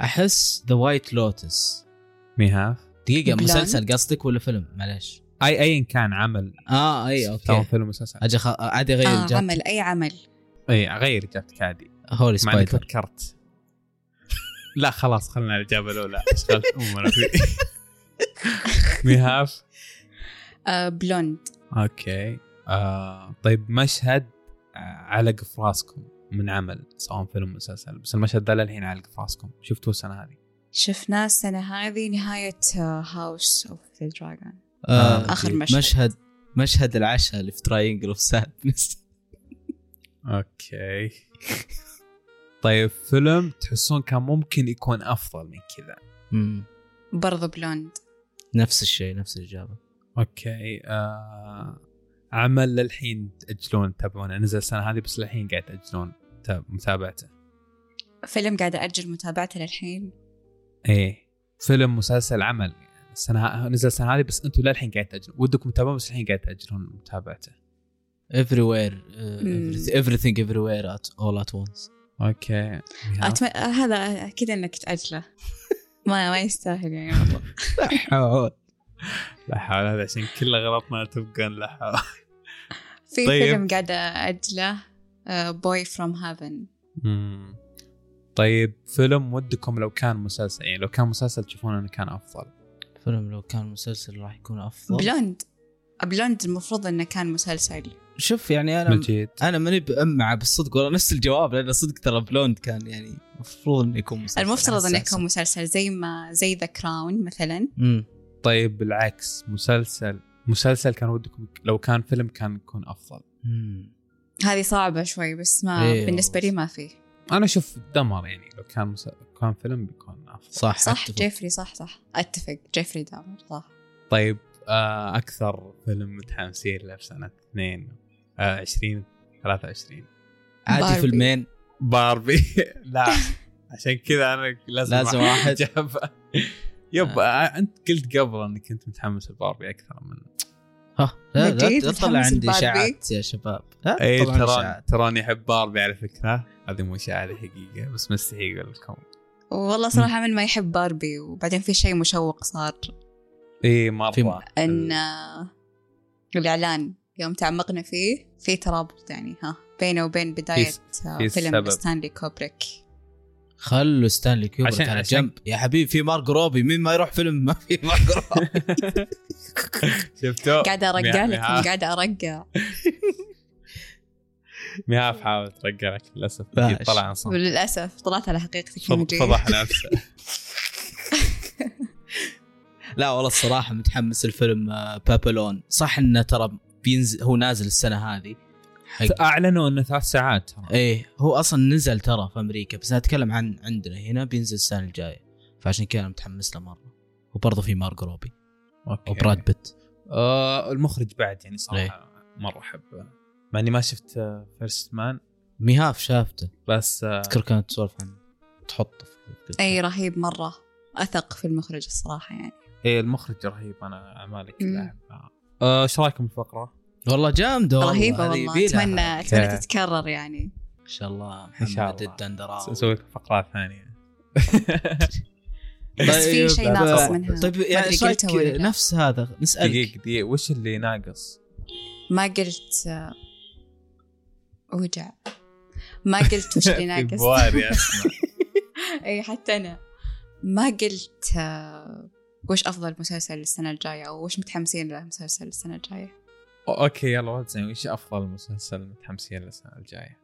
Speaker 3: احس ذا وايت لوتس
Speaker 1: ميهاف
Speaker 3: دقيقه
Speaker 2: Blonde.
Speaker 3: مسلسل قصدك ولا فيلم معليش
Speaker 1: اي ايا كان عمل
Speaker 3: اه اي
Speaker 1: سواء
Speaker 3: اوكي
Speaker 1: فيلم مسلسل
Speaker 3: اجي خ... عادي
Speaker 1: طيب،
Speaker 3: اغير
Speaker 2: آه
Speaker 3: الجو.
Speaker 2: عمل اي عمل
Speaker 1: اي غير اجابتك عادي
Speaker 3: هولي
Speaker 1: مع انك
Speaker 3: سبايدر
Speaker 1: فكرت لا خلاص خلنا الاجابه الاولى اشغلت امنا فيه مهاف
Speaker 2: آه بلوند
Speaker 1: اوكي آه طيب مشهد آه، علق في راسكم من عمل سواء فيلم مسلسل بس المشهد ده للحين علق في راسكم شفتوه السنه هذه
Speaker 2: شفناه السنة هذه نهاية آه، هاوس اوف ذا دراجون
Speaker 3: آه
Speaker 2: آخر
Speaker 3: آخر
Speaker 2: مشهد.
Speaker 3: مشهد مشهد مشهد العشاء اللي في تراينجل اوف سادنس
Speaker 1: اوكي طيب فيلم تحسون كان ممكن يكون افضل من كذا
Speaker 2: برضو بلوند
Speaker 3: نفس الشيء نفس الاجابه
Speaker 1: اوكي آه عمل للحين تاجلون تتابعونه نزل السنه هذه بس للحين قاعد تاجلون تا- متابعته
Speaker 2: فيلم قاعدة أجل متابعته للحين
Speaker 1: ايه فيلم مسلسل عمل يعني السنه ه- نزل السنه هذه بس انتم للحين قاعد تاجلون ودكم تتابعون بس الحين قاعد تاجلون متابعته
Speaker 3: everywhere وير
Speaker 2: مم.
Speaker 3: everything everywhere at all at once
Speaker 1: اوكي
Speaker 2: أتم... آه، هذا كذا إنك تأجله ما ما يستاهل يعني والله
Speaker 1: لا حول هذا عشان كله غلطنا تبقى لا حول
Speaker 2: في
Speaker 1: طيب.
Speaker 2: فيلم آه، قاعدة أجله بوي فروم هافن
Speaker 1: مم. طيب فيلم ودكم لو كان مسلسل يعني لو كان مسلسل تشوفون انه كان افضل
Speaker 3: فيلم لو كان مسلسل راح يكون افضل
Speaker 2: بلوند بلوند المفروض انه كان مسلسل
Speaker 3: شوف يعني انا
Speaker 1: مجيد
Speaker 3: انا ماني بأمعة بالصدق ولا نفس الجواب لان صدق ترى بلوند كان يعني المفروض انه يكون مسلسل
Speaker 2: المفترض انه يكون
Speaker 3: مسلسل
Speaker 2: مسلسل زي ما زي ذا كراون مثلا
Speaker 3: مم.
Speaker 1: طيب بالعكس مسلسل مسلسل كان ودكم لو كان فيلم كان يكون افضل
Speaker 3: مم.
Speaker 2: هذه صعبة شوي بس ما
Speaker 3: إيه.
Speaker 2: بالنسبة لي ما في
Speaker 1: انا اشوف دمر يعني لو كان مس... كان فيلم بيكون افضل
Speaker 3: صح
Speaker 2: صح
Speaker 3: أتفق.
Speaker 2: جيفري صح صح اتفق جيفري دامر صح
Speaker 1: طيب آه اكثر فيلم متحمسين له في سنه 2 آه 20 23
Speaker 3: عادي
Speaker 2: باربي.
Speaker 3: فيلمين
Speaker 1: باربي لا عشان كذا انا لازم
Speaker 3: لازم واحد.
Speaker 1: إجابة. يب آه. انت قلت قبل انك كنت متحمس لباربي اكثر من
Speaker 3: ها لا لا
Speaker 2: مجيد
Speaker 3: لا تطلع
Speaker 2: متحمس
Speaker 3: عندي
Speaker 2: لباربي؟
Speaker 3: اشاعات يا شباب لا
Speaker 1: اي
Speaker 3: تطلع عندي
Speaker 1: إيه، ترى
Speaker 3: إشاعات.
Speaker 1: تراني احب باربي على فكره هذه مو شعاري حقيقه بس مستحي اقول لكم
Speaker 2: والله صراحة من ما يحب باربي وبعدين في شيء مشوق صار
Speaker 1: اي مره
Speaker 3: في م-
Speaker 2: ان آه، الاعلان يوم تعمقنا فيه في ترابط يعني ها بينه وبين بداية آه،
Speaker 1: في
Speaker 2: فيلم
Speaker 1: سبب.
Speaker 2: ستانلي كوبريك
Speaker 3: خلوا ستانلي كيوبريك
Speaker 1: عشان-
Speaker 3: على
Speaker 1: عشان-
Speaker 3: جنب يا حبيبي في مارك روبي مين ما يروح فيلم ما في مارك روبي
Speaker 1: شفتوا
Speaker 2: قاعدة ارقع
Speaker 1: يا-
Speaker 2: لكم
Speaker 1: يا-
Speaker 2: قاعدة ارقع
Speaker 1: مهاف حاول ترقع لك للاسف
Speaker 3: باش.
Speaker 1: طلع عن صمت
Speaker 2: وللاسف طلعت على حقيقتك يا
Speaker 1: فض-
Speaker 2: مجيد.
Speaker 1: فضح نفسه
Speaker 3: لا والله الصراحه متحمس الفيلم آه، بابلون صح انه ترى بينزل هو نازل السنه هذه
Speaker 1: آه.
Speaker 3: حق
Speaker 1: اعلنوا انه ثلاث ساعات ترى
Speaker 3: ايه هو اصلا نزل ترى في امريكا بس انا اتكلم عن عندنا هنا بينزل السنه الجايه فعشان كذا انا متحمس له مره وبرضه في مارك روبي
Speaker 1: اوكي
Speaker 3: وبراد بيت
Speaker 1: آه المخرج بعد يعني صراحه مره احبه مع اني ما شفت فيرست مان
Speaker 3: ميهاف شافته
Speaker 1: بس آه
Speaker 3: اذكر كانت تسولف عنه تحطه في
Speaker 2: اي رهيب مرة اثق في المخرج الصراحة يعني
Speaker 1: إيه المخرج رهيب انا اعمالك
Speaker 2: مم.
Speaker 1: كلها احبها آه، ايش رايكم بالفقره؟
Speaker 3: والله جامده والله
Speaker 2: رهيبة
Speaker 3: هذه
Speaker 2: والله
Speaker 3: يبيلها.
Speaker 2: اتمنى
Speaker 1: أوكي.
Speaker 2: اتمنى تتكرر يعني
Speaker 3: ان شاء الله محمد
Speaker 1: إن شاء الله.
Speaker 3: الدندراوي.
Speaker 1: نسوي لك فقرات ثانيه
Speaker 2: بس في شيء
Speaker 3: طيب،
Speaker 2: ناقص
Speaker 1: آه،
Speaker 2: منها
Speaker 3: طيب يعني
Speaker 2: أدري
Speaker 3: ايش
Speaker 2: قلتها ولا
Speaker 3: رايك
Speaker 2: لا.
Speaker 3: نفس هذا نسالك
Speaker 1: دقيقه دقيقه وش اللي ناقص؟
Speaker 2: ما قلت آه، وجع ما قلت وش اللي
Speaker 1: في
Speaker 2: ناقص
Speaker 1: بواري اسمع
Speaker 2: اي حتى انا ما قلت آه، وش افضل مسلسل السنه الجايه او وش متحمسين له مسلسل السنه الجايه
Speaker 1: أو- اوكي يلا وزن وش افضل مسلسل متحمسين للسنه الجايه؟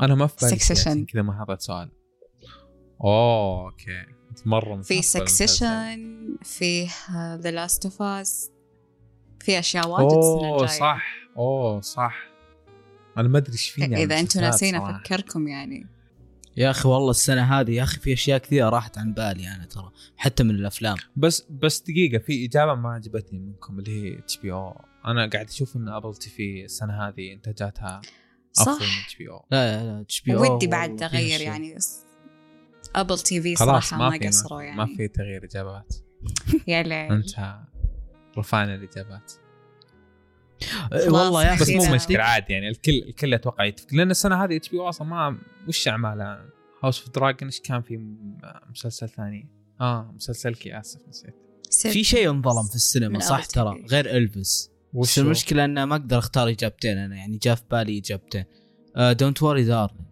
Speaker 1: انا ما في بالي شيء،
Speaker 2: Succession.
Speaker 1: عشان كذا ما حطيت سؤال اوه اوكي انت مره
Speaker 2: في
Speaker 1: متحمسة للمسلسل.
Speaker 2: سكسيشن في آه، ذا لاست اوف اس في اشياء واجد السنه
Speaker 1: اوه
Speaker 2: الجايه
Speaker 1: صح اوه صح انا ما ادري ايش فيني
Speaker 2: اذا انتم ناسين
Speaker 1: ناسيين
Speaker 2: افكركم يعني
Speaker 3: يا اخي والله السنه هذه يا اخي في اشياء كثيره راحت عن بالي انا ترى حتى من الافلام
Speaker 1: بس بس دقيقه في اجابه ما عجبتني منكم اللي هي اتش بي او انا قاعد اشوف ان ابل تي في السنه هذه انتاجاتها افضل من
Speaker 2: صح
Speaker 1: اتش بي او
Speaker 3: لا لا اتش بي
Speaker 2: ودي بعد اغير يعني ابل تي في
Speaker 1: خلاص
Speaker 2: صراحه
Speaker 1: ما
Speaker 2: ما,
Speaker 1: في
Speaker 2: قصروا
Speaker 1: ما-
Speaker 2: يعني
Speaker 1: ما في تغيير اجابات
Speaker 2: يا ليل
Speaker 1: انت رفعنا الاجابات
Speaker 3: والله يا
Speaker 1: بس
Speaker 3: اخي
Speaker 1: مو
Speaker 2: أخيراً.
Speaker 1: مشكله عادي يعني الكل الكل اتوقع يتفق لان السنه هذه اتش بي او اصلا ما وش اعمالها هاوس اوف دراجون ايش كان في م- مسلسل ثاني اه مسلسلك اسف نسيت
Speaker 3: في شيء انظلم في السينما
Speaker 2: من
Speaker 3: صح
Speaker 2: Apple TV.
Speaker 3: ترى غير الفس
Speaker 1: وش
Speaker 3: بس
Speaker 1: هو؟
Speaker 3: المشكله انه ما اقدر اختار اجابتين آه، انا يعني جاء في بالي اجابتين دونت وري دارلينج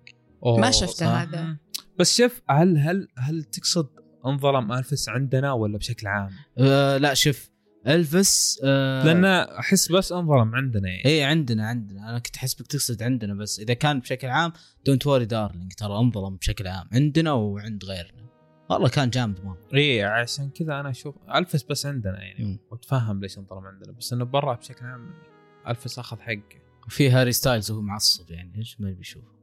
Speaker 1: أوه،
Speaker 2: ما شفته
Speaker 1: صح.
Speaker 2: هذا.
Speaker 1: بس شوف هل هل هل تقصد انظلم الفس عندنا ولا بشكل عام؟
Speaker 3: آه لا شوف الفس آه إيه.
Speaker 1: لان احس بس انظلم عندنا يعني
Speaker 3: اي عندنا عندنا انا كنت احسبك تقصد عندنا بس اذا كان بشكل عام دونت وري دارلينج ترى انظلم بشكل عام عندنا وعند غيرنا والله كان جامد مره
Speaker 1: اي إيه، عشان كذا انا اشوف الفس بس عندنا يعني
Speaker 3: مم.
Speaker 1: واتفهم ليش انظلم عندنا بس انه برا بشكل عام الفس اخذ حقه
Speaker 3: وفي هاري ستايلز وهو معصب يعني ايش ما بيشوفه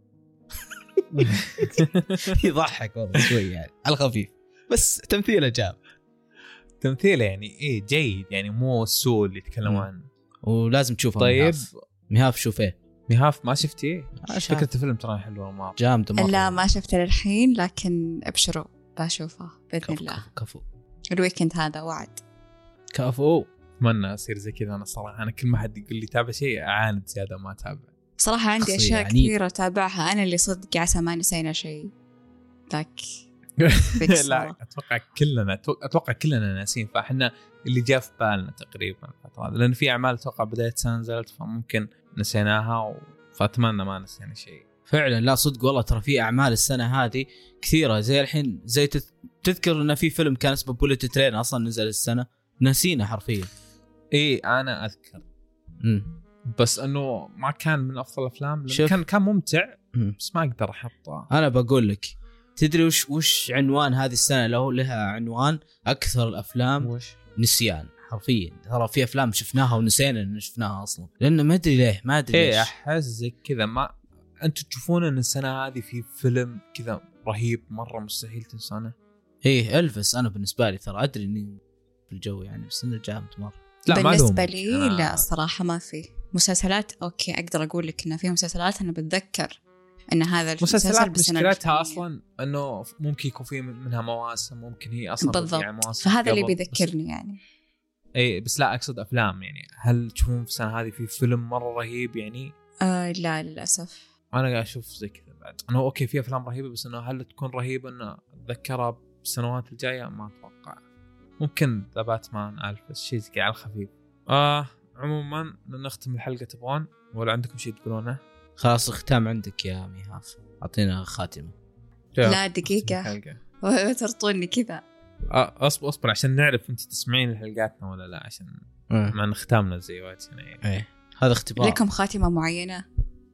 Speaker 3: يضحك والله شوي يعني على الخفيف بس تمثيله جاب
Speaker 1: تمثيله يعني اي جيد يعني مو السوء اللي يتكلموا
Speaker 3: مم.
Speaker 1: عنه
Speaker 3: ولازم تشوفه
Speaker 1: طيب
Speaker 3: مهاف. مهاف شوفيه
Speaker 1: مهاف ما شفتيه؟
Speaker 3: آه، شاف.
Speaker 1: فكره الفيلم ترى حلوه مره
Speaker 3: جامده مره
Speaker 2: لا ما شفته للحين لكن ابشروا بشوفه باذن
Speaker 3: كفو
Speaker 2: الله
Speaker 3: كفو كفو
Speaker 2: الويكند هذا وعد
Speaker 3: كفو
Speaker 1: اتمنى اصير زي كذا انا صراحه انا كل ما حد يقول لي تابع شيء اعاند زياده ما اتابع
Speaker 2: صراحه عندي
Speaker 3: شخصية
Speaker 2: اشياء
Speaker 1: يعني.
Speaker 3: عنيدة.
Speaker 2: كثيره اتابعها انا اللي صدق عسى ما نسينا شيء ذاك ذيك
Speaker 1: لا
Speaker 2: الصورة.
Speaker 1: اتوقع كلنا أتوقع- اتوقع كلنا ناسين فاحنا اللي جاء في بالنا تقريبا الفتره هذه. لان في اعمال اتوقع بدايه سنه نزلت فممكن نسيناها و... فاتمنى ما نسينا شيء
Speaker 3: فعلا لا صدق والله ترى في اعمال السنه هذه كثيره زي الحين زي تت- تذكر ان في فيلم كان اسمه بوليت ترين اصلا نزل السنه نسينا حرفيا
Speaker 1: اي انا اذكر
Speaker 3: أمم.
Speaker 1: بس انه ما كان من افضل الافلام لأن
Speaker 3: شوف.
Speaker 1: كان كان ممتع
Speaker 3: أمم.
Speaker 1: بس ما اقدر احطه
Speaker 3: انا بقول لك تدري وش وش عنوان هذه السنه له لها عنوان اكثر الافلام
Speaker 1: وش
Speaker 3: نسيان حرفيا ترى في افلام شفناها ونسينا ان شفناها اصلا لانه ما ادري ليه ما ادري
Speaker 1: ايه
Speaker 3: ليش
Speaker 1: احس زي كذا ما انتم تشوفون ان السنه هذه في فيلم كذا رهيب مره مستحيل تنسانه
Speaker 3: ايه الفس انا بالنسبه لي ترى ادري اني في الجو يعني بس انه جامد مره
Speaker 2: بالنسبه
Speaker 1: ألومك.
Speaker 2: لي
Speaker 1: أنا-
Speaker 2: لا الصراحه ما في مسلسلات اوكي اقدر اقول لك انه في مسلسلات انا بتذكر ان هذا المسلسل
Speaker 1: مسلسلات
Speaker 2: بالسنة
Speaker 1: مشكلتها اصلا
Speaker 2: الفلانية.
Speaker 1: انه ممكن يكون في منها مواسم ممكن هي اصلا
Speaker 2: بالضبط.
Speaker 1: بتبيع مواسم
Speaker 2: فهذا اللي
Speaker 1: قبل.
Speaker 2: بيذكرني يعني
Speaker 1: بس اي بس لا اقصد افلام يعني هل تشوفون في السنه هذه في فيلم مره رهيب يعني
Speaker 2: آه لا للاسف
Speaker 1: انا قاعد اشوف زي كذا بعد انه اوكي في افلام رهيبه بس انه هل تكون رهيبه انه اتذكرها بالسنوات الجايه ما اتوقع ممكن ذا باتمان الفس شيء زي كذا على الخفيف اه عموما نختم الحلقه تبغون ولا عندكم شيء تقولونه؟
Speaker 3: خلاص الختام عندك يا ميهاف اعطينا خاتمه
Speaker 2: لا دقيقه
Speaker 1: الحلقة.
Speaker 2: ترطوني كذا
Speaker 1: آه، اصبر اصبر عشان نعرف انت تسمعين لحلقاتنا ولا لا عشان مع إن ختامنا زي وقتنا يعني
Speaker 3: ايه هذا اختبار
Speaker 2: لكم خاتمه معينه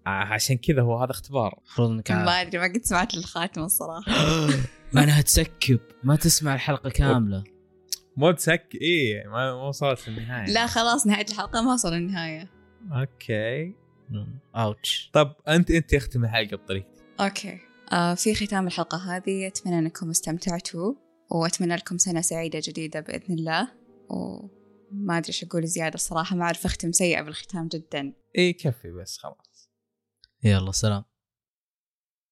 Speaker 1: آه، عشان كذا هو هذا اختبار
Speaker 3: المفروض انك عارف.
Speaker 2: ما ادري ما قد سمعت الخاتمه الصراحه
Speaker 3: معناها تسكب ما تسمع الحلقه كامله
Speaker 1: مو تسك اي ما ما وصلت للنهايه
Speaker 2: لا خلاص نهايه الحلقه ما وصل النهايه
Speaker 1: اوكي
Speaker 3: اوتش
Speaker 1: طب انت انت اختم الحلقه بطريقتك
Speaker 2: اوكي آه في ختام الحلقه هذه اتمنى انكم استمتعتوا واتمنى لكم سنه سعيده جديده باذن الله وما ادري ايش اقول زياده الصراحه ما اعرف اختم سيئه بالختام جدا
Speaker 1: اي كفي بس إيه، خلاص
Speaker 3: يلا سلام